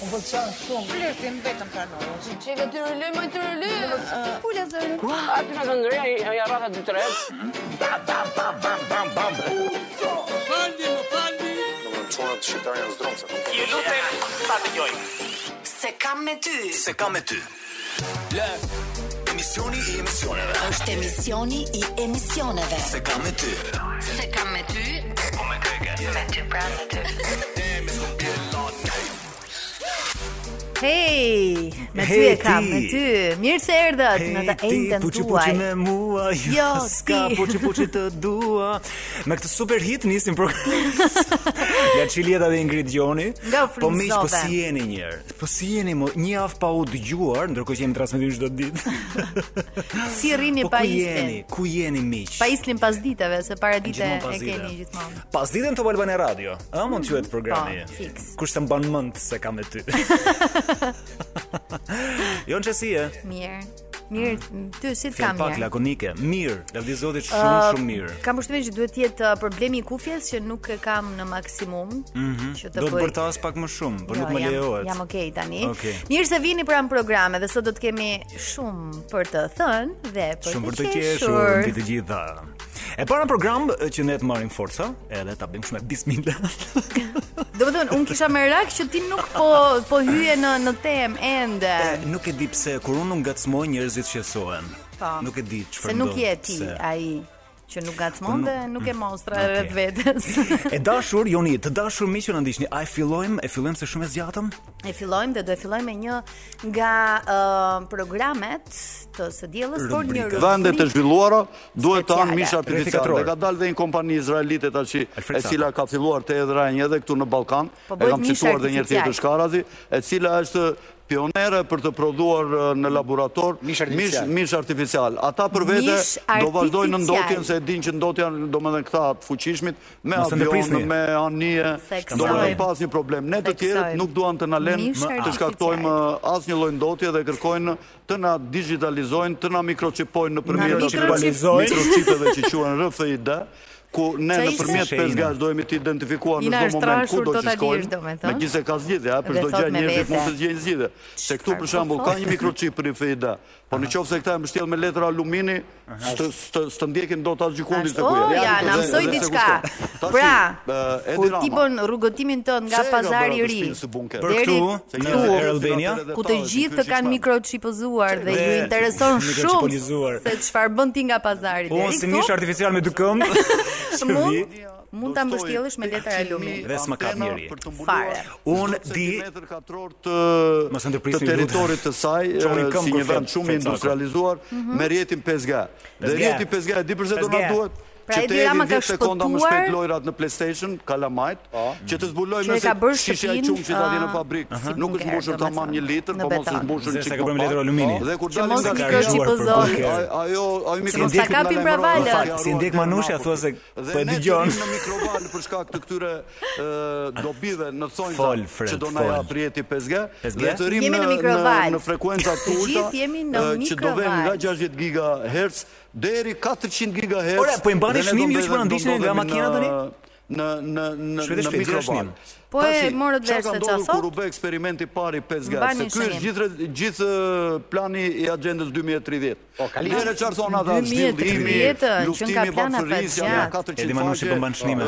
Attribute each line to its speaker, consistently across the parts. Speaker 1: Më pëlqen shumë.
Speaker 2: Flirtim vetëm pranoj.
Speaker 3: Çeve të rëloj, më të rëloj.
Speaker 2: Pula zërin.
Speaker 4: A ti me të ndërja, ja rrata dy tre.
Speaker 5: Domethënë çunat shqiptar janë zdromse.
Speaker 6: Ju lutem, ta dëgjoj.
Speaker 7: Se kam me ty
Speaker 6: Se kam me ty. Lëv. Emisioni i emisioneve.
Speaker 7: është emisioni i emisioneve
Speaker 6: Se kam me ty.
Speaker 7: Se kam me ty
Speaker 6: Po me keke.
Speaker 7: Me ty pra me ty
Speaker 6: Damn, it's gonna be a long night.
Speaker 2: Hey, me ty
Speaker 8: Hey,
Speaker 2: e kam,
Speaker 8: ti.
Speaker 2: me ty. Mirë se erdhët në të ejtën
Speaker 6: po
Speaker 8: puçi
Speaker 2: tuaj.
Speaker 8: puçi me mua, jo,
Speaker 2: Jo,
Speaker 8: s'ka
Speaker 2: ti.
Speaker 8: puçi puçi të dua. Me këtë super hit nisim program. ja Çilieta dhe Ingrid Gjoni.
Speaker 2: Nga u
Speaker 8: Po miq, po
Speaker 2: frymëzove.
Speaker 8: si jeni një herë? Po si jeni mo, një javë pa u dëgjuar, ndërkohë që jemi transmetim çdo ditë.
Speaker 2: Si rrini
Speaker 8: po
Speaker 2: pa
Speaker 8: ku jeni?
Speaker 2: islin.
Speaker 8: Ku jeni miq?
Speaker 2: Pa islin pas diteve, se para dite
Speaker 8: Gjithmonë pas
Speaker 2: e
Speaker 8: dite.
Speaker 2: keni gjithmonë.
Speaker 8: Pas ditën të Valbane Radio, a mund të quhet programi?
Speaker 2: po, fix.
Speaker 8: Kush të mban mend se kam me ty? Jon çesie,
Speaker 2: Mirë. Mirë, ty si të
Speaker 8: fjalë
Speaker 2: kam
Speaker 8: pak
Speaker 2: mirë.
Speaker 8: lakonike, mirë, lavdi Zotit shumë shumë mirë.
Speaker 2: Kam përshtypjen që duhet të jetë uh, problemi i kufjes që nuk e kam në maksimum, që të
Speaker 8: Mhm. Do të
Speaker 2: bëj.
Speaker 8: bërtas pak më shumë, por
Speaker 2: Jo,
Speaker 8: nuk më
Speaker 2: jam-
Speaker 8: lejohet.
Speaker 2: Jam okay tani.
Speaker 8: Okej.
Speaker 2: Mirë se vini pranë programe dhe sot do të kemi shumë për të thënë dhe për
Speaker 8: Shumë për
Speaker 2: të
Speaker 8: të qeshur
Speaker 2: qeshur.
Speaker 8: mbi të gjitha. E para në program e, që ne të marrim forca, edhe ta bëjmë shumë bismillah.
Speaker 2: Domethënë, un kisha merak që ti nuk po po hyje në në temë ende.
Speaker 8: E, nuk e di pse kur unë nuk ngacmoj njerëzit qesohen.
Speaker 2: Po.
Speaker 8: Nuk e di
Speaker 2: Se
Speaker 8: çfarë.
Speaker 2: nuk
Speaker 8: ndodh,
Speaker 2: je ti
Speaker 8: pse.
Speaker 2: ai që nuk gacmon
Speaker 8: Po,
Speaker 2: dhe
Speaker 8: nuk-
Speaker 2: nuk e mostra
Speaker 8: Okej.
Speaker 2: vetë vetes.
Speaker 8: E dashur Joni, të dashur miq që na ndiqni, a e fillojmë? E fillojmë se shumë e zgjatëm?
Speaker 2: E fillojmë dhe do e fillojmë me një nga ë, programet të së diellës, por një
Speaker 8: Rubrika.
Speaker 9: Vende të zhvilluara duhet të hanë
Speaker 2: Speciale.
Speaker 9: mish artificial.
Speaker 8: Refikatorë.
Speaker 9: Dhe ka dalë dhe një kompani izraelite tash
Speaker 8: Alfred
Speaker 9: e
Speaker 8: Sako.
Speaker 9: cila ka filluar të edhrajnë edhe këtu në Ballkan.
Speaker 2: Po
Speaker 9: e
Speaker 2: bëhet
Speaker 9: kam
Speaker 2: mish
Speaker 9: cituar dhe një
Speaker 2: artificial.
Speaker 9: tjetër shkarazi, e cila është pionere për të prodhuar e, në laborator mish mish, artificial. Ata për vete
Speaker 2: Mish
Speaker 9: do vazhdojnë
Speaker 2: artificial.
Speaker 9: në ndotjen se e dinë që ndotja domethënë këta të fuqishmit me
Speaker 8: Mos e
Speaker 9: avion,
Speaker 8: ndërprisni.
Speaker 9: me anije,
Speaker 2: Theksojnë.
Speaker 9: domethënë pas një problem. Ne të
Speaker 2: Theksojnë.
Speaker 9: tjerët nuk duan të na lenë
Speaker 2: Mish
Speaker 9: të shkaktojmë uh, e, asnjë lloj ndotje dhe kërkojnë të na digitalizojnë, të na mikroçipojnë
Speaker 2: Na
Speaker 9: në përmjet
Speaker 8: mikroçipojnë.
Speaker 9: mikroçipeve që quhen RFID, ku ne
Speaker 2: Që
Speaker 9: në
Speaker 2: ishte?
Speaker 9: përmjet pesgash dohemi të identifikuar në
Speaker 2: Jina
Speaker 9: çdo
Speaker 2: është
Speaker 9: moment ku
Speaker 2: trashur
Speaker 9: do të
Speaker 2: totalisht,
Speaker 9: shkojmë.
Speaker 2: domethënë.
Speaker 9: Megjithëse ka zgjidhje, ha, për
Speaker 2: Dhe
Speaker 9: çdo
Speaker 2: thot
Speaker 9: gjë
Speaker 2: me
Speaker 9: njerëzit
Speaker 2: vete.
Speaker 9: mund të gjejnë zgjidhje. Se këtu
Speaker 2: Çfarë
Speaker 9: për shembull
Speaker 2: po
Speaker 9: ka
Speaker 2: thot?
Speaker 9: një mikroçip RFID, po në qoftë se këta e mbështjellë me letra alumini, s'të s'të- s'të ndjekin dot as gjykundin
Speaker 2: Ashtu,
Speaker 9: se ku je.
Speaker 2: ja,
Speaker 9: Dhe-
Speaker 2: na
Speaker 9: dhe
Speaker 2: mësoj
Speaker 9: se
Speaker 2: diçka.
Speaker 9: kushton. Tashi,
Speaker 2: Pra,
Speaker 9: e, Edi
Speaker 2: kur ti
Speaker 9: Rama,
Speaker 2: bën rrugëtimin tënd nga
Speaker 9: uh, pse e ka
Speaker 2: pazari i
Speaker 9: bërë atë
Speaker 2: ri
Speaker 9: shpinë së bunker?
Speaker 8: Për
Speaker 2: deri
Speaker 8: këtu, se
Speaker 2: këtu,
Speaker 8: njerëzit e Air Albania,
Speaker 2: ku të gjithë të kanë mikrochipozuar dhe
Speaker 8: Dhe
Speaker 2: ju intereson shumë
Speaker 8: mikrochipolizuar.
Speaker 2: se çfarë bën ti nga pazari
Speaker 8: Unë
Speaker 2: deri
Speaker 8: si mish artificial me dy këmbë.
Speaker 2: këtu, mund jo. mund ta mbështjellësh me letër alumi.
Speaker 8: Dhe s'ma kap njeri.
Speaker 2: Fare.
Speaker 8: Unë di-
Speaker 9: katror të
Speaker 8: Mos e
Speaker 9: të
Speaker 8: ndërprisni,
Speaker 9: territorit të saj
Speaker 8: Qoni
Speaker 9: e,
Speaker 8: këmbë
Speaker 9: si
Speaker 8: kur
Speaker 9: një vend
Speaker 8: flet,
Speaker 9: shumë
Speaker 8: flet
Speaker 9: industrializuar
Speaker 2: Mhm.
Speaker 9: me rjetin 5G. Dhe
Speaker 8: 5G.
Speaker 9: rjeti 5G di përse do na
Speaker 8: 5G.
Speaker 9: duhet
Speaker 2: Pra,
Speaker 9: që
Speaker 2: Edi
Speaker 9: të jemi
Speaker 2: Rama ka
Speaker 9: 10 sekonda më
Speaker 2: shpëtuar-
Speaker 9: shpejt lojrat në PlayStation, kalamajt,
Speaker 8: Po.
Speaker 9: që të zbulojmë
Speaker 2: Që e ka bërë ah,
Speaker 9: shisha e
Speaker 2: shtëpinë,
Speaker 9: qumë që ta di në
Speaker 2: a,
Speaker 9: fabrikë,
Speaker 2: si
Speaker 9: nuk
Speaker 2: bunker,
Speaker 9: është mbushur
Speaker 2: domethënë,
Speaker 9: tamam një litër,
Speaker 2: në
Speaker 9: po mos
Speaker 2: beton.
Speaker 9: është mbushur
Speaker 8: Zërsa
Speaker 9: çik
Speaker 8: ka bërë me
Speaker 9: pak.
Speaker 8: letër alumini.
Speaker 9: Dhe kur
Speaker 2: Që
Speaker 9: dalim
Speaker 2: mos
Speaker 9: nga
Speaker 2: mikroçip
Speaker 9: shtëpia,
Speaker 2: mikroçipozon.
Speaker 8: Okej.
Speaker 9: Ai- Ajo, ajo
Speaker 2: Si
Speaker 9: mikroçip
Speaker 2: mos ta
Speaker 9: na
Speaker 2: kapin
Speaker 9: lajmëron
Speaker 2: pra
Speaker 9: në
Speaker 2: valet.
Speaker 9: fakt,
Speaker 8: Si ndjek Manusha, thua se
Speaker 9: Dhe
Speaker 8: po e
Speaker 9: ne
Speaker 8: dëgjon.
Speaker 9: që vinim në mikroval për shkak të këtyre ë, dobive në
Speaker 8: Fol,
Speaker 9: thonjza
Speaker 8: Fred,
Speaker 9: që do na
Speaker 8: fol.
Speaker 9: jap rjeti 5G,
Speaker 8: 5G?
Speaker 9: dhe të rrim
Speaker 2: Jemi
Speaker 9: në
Speaker 2: në
Speaker 9: në,
Speaker 2: mikroval.
Speaker 9: në frekuenca
Speaker 2: Të
Speaker 9: të ulta
Speaker 2: gjithë jemi në
Speaker 9: ë, që do vëmë nga
Speaker 2: mikroval.
Speaker 9: 60 GHz deri 400 GHz.
Speaker 8: Ore, po i mbani
Speaker 9: dhe ne do
Speaker 8: shmim ju
Speaker 9: ndodhem-
Speaker 8: që po na
Speaker 9: do
Speaker 8: ndiqni nga
Speaker 9: ndodhemi
Speaker 8: makina
Speaker 9: në-
Speaker 8: tani?
Speaker 9: në në në
Speaker 8: Shpejt e
Speaker 9: në
Speaker 8: shpejt, zero
Speaker 9: mikroval.
Speaker 8: shmim.
Speaker 2: Po e morët vesh se çfarë
Speaker 9: çfarë thot? Kur u
Speaker 2: thot?
Speaker 9: bë eksperimenti i parë i 5G,
Speaker 2: Mbani
Speaker 9: se ky është
Speaker 2: shënim.
Speaker 9: gjithë gjithë ë, plani i agjendës 2030. Po,
Speaker 6: kalimi.
Speaker 9: Njëre çfarë thon ata
Speaker 2: 2030,
Speaker 9: zhvillimi,
Speaker 2: që ka
Speaker 9: luftimi
Speaker 2: plana
Speaker 9: bafërisja,
Speaker 2: faqe.
Speaker 9: 400
Speaker 8: Edi Manushi po mban shnime.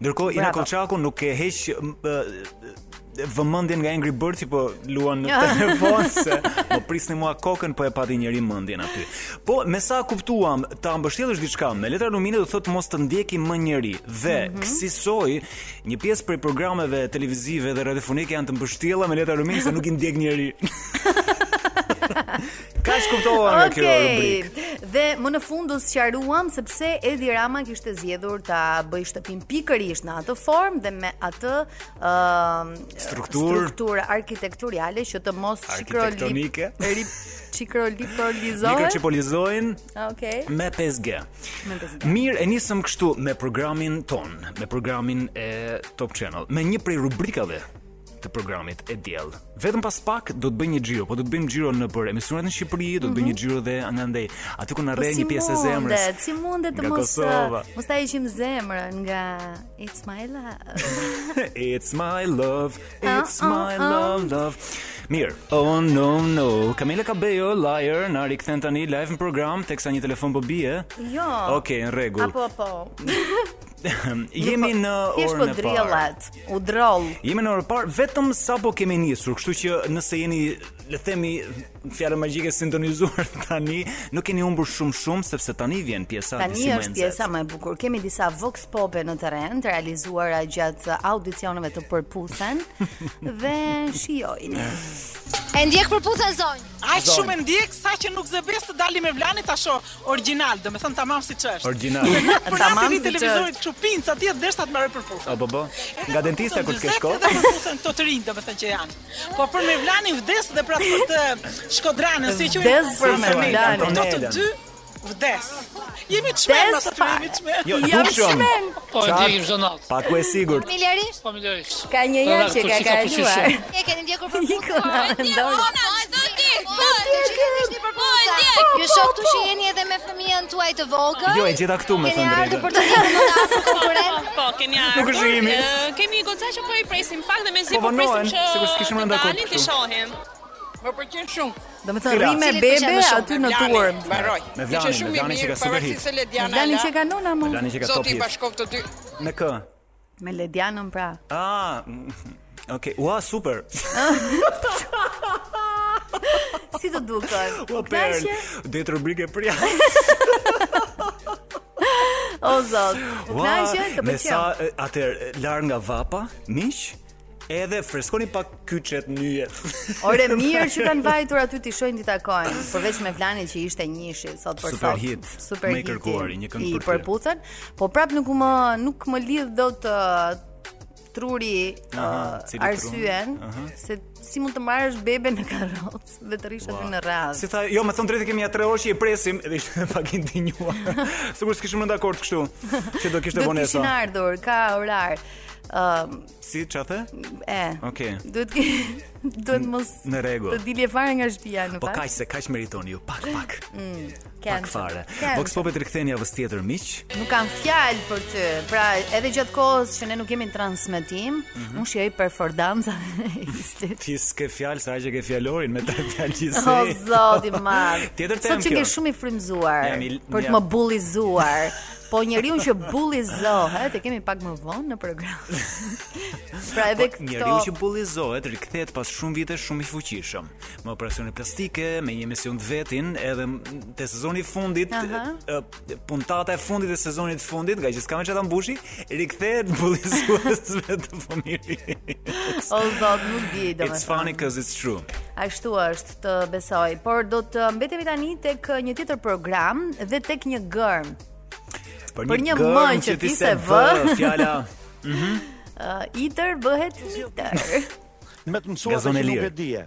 Speaker 8: Ndërkohë Ina
Speaker 2: Bravo.
Speaker 8: Kolçaku nuk e heq m- e, e, vëmendjen nga Angry Birds që po luan në telefon se po prisni mua kokën po e pati njëri mendjen aty. Po me sa kuptuam ta mbështjellësh diçka me letra lumine do thotë mos të ndjeki më njëri dhe kësaj një pjesë prej programeve televizive dhe radiofonike janë të mbështjella me letra lumine se nuk i ndjek njëri. Kaç kuptova nga kjo rubrikë.
Speaker 2: Dhe më në fund do sqaruam sepse Edi Rama kishte zgjedhur ta bëj shtëpinë pikërisht në atë formë dhe me atë ë
Speaker 8: Struktur.
Speaker 2: strukturë arkitekturiale që të mos qikrolip
Speaker 8: Arkitektonike.
Speaker 2: qikrolipolizohet.
Speaker 8: Mikroçipolizojnë
Speaker 2: Okej.
Speaker 8: me 5G.
Speaker 2: Me 5G.
Speaker 8: Mirë, e nisëm kështu me programin ton, me programin e Top Channel, me një prej rubrikave të programit e diell. Vetëm pas pak do të bëj një xhiro, po do të bëjmë xhiro në për emisionet në Shqipëri, do të bëj një xhiro dhe nga ndej. Aty ku na rre një pjesë e
Speaker 2: Mhm. Po
Speaker 8: zemrës.
Speaker 2: mundet, Si mundet të
Speaker 8: nga
Speaker 2: mos
Speaker 8: Kosova.
Speaker 2: mos ta heqim zemrën nga It's my love.
Speaker 8: It's my love, it's
Speaker 2: Oh, oh,
Speaker 8: my
Speaker 2: oh.
Speaker 8: love, love. Mirë. Oh no no. Camila Cabello liar na rikthen tani live në program teksa një telefon po bie.
Speaker 2: Jo.
Speaker 8: Okej, në rregull.
Speaker 2: Apo po.
Speaker 8: Jemi në
Speaker 2: Thjesht po
Speaker 8: orën e parë.
Speaker 2: driellet, u droll.
Speaker 8: Jemi në orë parë vetëm sapo kemi nisur, kështu që nëse jeni, le të themi, fjalë magjike sintonizuar tani, nuk keni humbur shumë shumë sepse tani vjen pjesa
Speaker 2: Tani është pjesa më e bukur. Kemi disa vox pope në terren të realizuara gjatë audicioneve të përputhen dhe shijojini.
Speaker 1: E ndjek për puthe zonjë.
Speaker 10: Aq shumë e ndjek sa që nuk zëbes të dalim me Vlani tasho original, domethënë tamam siç është.
Speaker 8: origjinal.
Speaker 10: Por
Speaker 2: Tamam
Speaker 10: tamam
Speaker 2: siç
Speaker 10: si
Speaker 2: është.
Speaker 10: televizorit kështu pinë sa ti deshta të marrë për fusha.
Speaker 8: Apo po. Nga dentista kur të kesh
Speaker 10: Edhe
Speaker 8: kohë.
Speaker 10: për fusën këto të rinj domethënë që janë. Po për me Vlanin vdes dhe pra për atë të Shkodranën, si e quajnë.
Speaker 2: Vdes për
Speaker 10: Antonelën.
Speaker 2: Mevlanin.
Speaker 10: Këto të dy vdes. Jemi çmend,
Speaker 2: Vdes
Speaker 10: sa të jemi çmend.
Speaker 8: Jo,
Speaker 2: Jam
Speaker 8: dukshëm.
Speaker 2: shmen.
Speaker 11: Po e ndjekim zonat.
Speaker 8: Pak u e sigurt.
Speaker 1: Familjarisht,
Speaker 11: Familjarisht.
Speaker 2: Ka një javë që ka kaluar.
Speaker 1: e keni ndjekur për
Speaker 2: Një
Speaker 1: puthe.
Speaker 2: këna mendoj.
Speaker 1: Po, të që keni ishti për puthe. Ju shoh këtu që jeni edhe me fëmijën tuaj të vogël.
Speaker 8: Jo, e gjeta këtu me
Speaker 1: Keni
Speaker 8: thënë
Speaker 1: ardhur për
Speaker 8: drejtë.
Speaker 1: të ndjekur më të afër konkurrent.
Speaker 12: Po, keni ardhur.
Speaker 8: Nuk është jemi.
Speaker 12: Ë, Kemi goca që po i presim pak dhe mezi
Speaker 8: Po
Speaker 12: po
Speaker 8: vënohen,
Speaker 12: presim që
Speaker 8: sikur s'kishim rënë dakord
Speaker 12: dalin,
Speaker 8: kështu.
Speaker 12: Të shohim.
Speaker 10: Më pëlqen shumë.
Speaker 2: Do të thënë rri me
Speaker 1: Cilit pëlqen
Speaker 2: bebe
Speaker 1: më shumë?
Speaker 2: aty në turm.
Speaker 10: Mbaroj.
Speaker 8: Me Vlanin, me Vlanin që ka super hit.
Speaker 2: Lani që ka nona mu.
Speaker 8: Lani që ka top
Speaker 10: Zoti i
Speaker 8: hit.
Speaker 10: bashkov të dy.
Speaker 8: Me kë?
Speaker 2: Me Ledianën pra.
Speaker 8: Ah, mm, Okej, ua super.
Speaker 2: Si të duket?
Speaker 8: Ua perl. Dhe të rubrike për jashtë.
Speaker 2: O zot. U
Speaker 8: Ua,
Speaker 2: knaqe të
Speaker 8: Me sa
Speaker 2: pëlqeu.
Speaker 8: e, atëherë e, lar nga vapa, miq, edhe freskoni pak kyçet nyjet.
Speaker 2: Ore mirë që kanë vajtur aty ti shojnë ti takojnë, përveç me Vlanin që ishte njëshi sot për
Speaker 8: Super
Speaker 2: sot.
Speaker 8: hit,
Speaker 2: Super
Speaker 8: më i kërkuari, një këngë
Speaker 2: i
Speaker 8: për ty.
Speaker 2: përputhen, po prap nuk më nuk më lidh dot ë, truri
Speaker 8: Aha,
Speaker 2: ë,
Speaker 8: cili
Speaker 2: arsyen
Speaker 8: trun? Aha.
Speaker 2: se si mund të marrësh bebe në karrocë dhe të rish aty në radhë.
Speaker 8: Si tha, jo, më thon drejtë kemi ja 3 orë që i presim edhe ishte pak i ndinjuar. Sigurisht kishim rënë dakord kështu që do kishte
Speaker 2: Do të kishin
Speaker 8: vonesa.
Speaker 2: ardhur, ka orar. Ëm,
Speaker 8: Si ç'a the?
Speaker 2: e.
Speaker 8: Okej.
Speaker 2: Duhet ki- duhet mos
Speaker 8: Në rregull.
Speaker 2: të dilje fare nga shtëpia në
Speaker 8: Po
Speaker 2: fakt.
Speaker 8: kaq se kaq meriton ju, pak pak, pak
Speaker 2: Cancel.
Speaker 8: fare.
Speaker 2: Cancel.
Speaker 8: Vox Popet rikthehen javës tjetër miq.
Speaker 2: Nuk kam fjalë për ty. Pra, edhe gjatë kohës që ne nuk kemi në transmetim,
Speaker 8: Mhm.
Speaker 2: unë shijoj performanca e Istit.
Speaker 8: Ti s'ke fjalë, sa që ke fjalorin me tre fjalë
Speaker 2: O
Speaker 8: gjithsej.
Speaker 2: zoti i madh.
Speaker 8: Tjetër
Speaker 2: Sot
Speaker 8: temë
Speaker 2: që
Speaker 8: kjo.
Speaker 2: ke shumë i frymzuar
Speaker 8: Jam i-
Speaker 2: për të
Speaker 8: jam-
Speaker 2: më bullizuar. Po njeriu që bullizohet e kemi pak më vonë në program. pra edhe
Speaker 8: Po,
Speaker 2: këto
Speaker 8: njeriu që bullizohet rikthehet pas shumë vite shumë i fuqishëm. Me operacione plastike, me një emision të vetin, edhe m- te sezoni i fundit,
Speaker 2: Aha.
Speaker 8: e, e, puntata e fundit e sezonit të fundit, nga që s'ka me çata mbushi, rikthehet bullizuesve të fëmijërisë.
Speaker 2: o zot nuk di domethënë.
Speaker 8: It's funny because it's true.
Speaker 2: Ashtu është të besoj, por do të mbetemi tani tek një tjetër program dhe tek një gërm. Për një
Speaker 8: gërm
Speaker 2: më që ti se vë.
Speaker 8: fjala
Speaker 2: Uh, itër bëhet itër.
Speaker 13: me të mësuar
Speaker 8: Gazon
Speaker 13: dhe
Speaker 8: e
Speaker 13: që nuk
Speaker 8: lirë.
Speaker 13: e dije.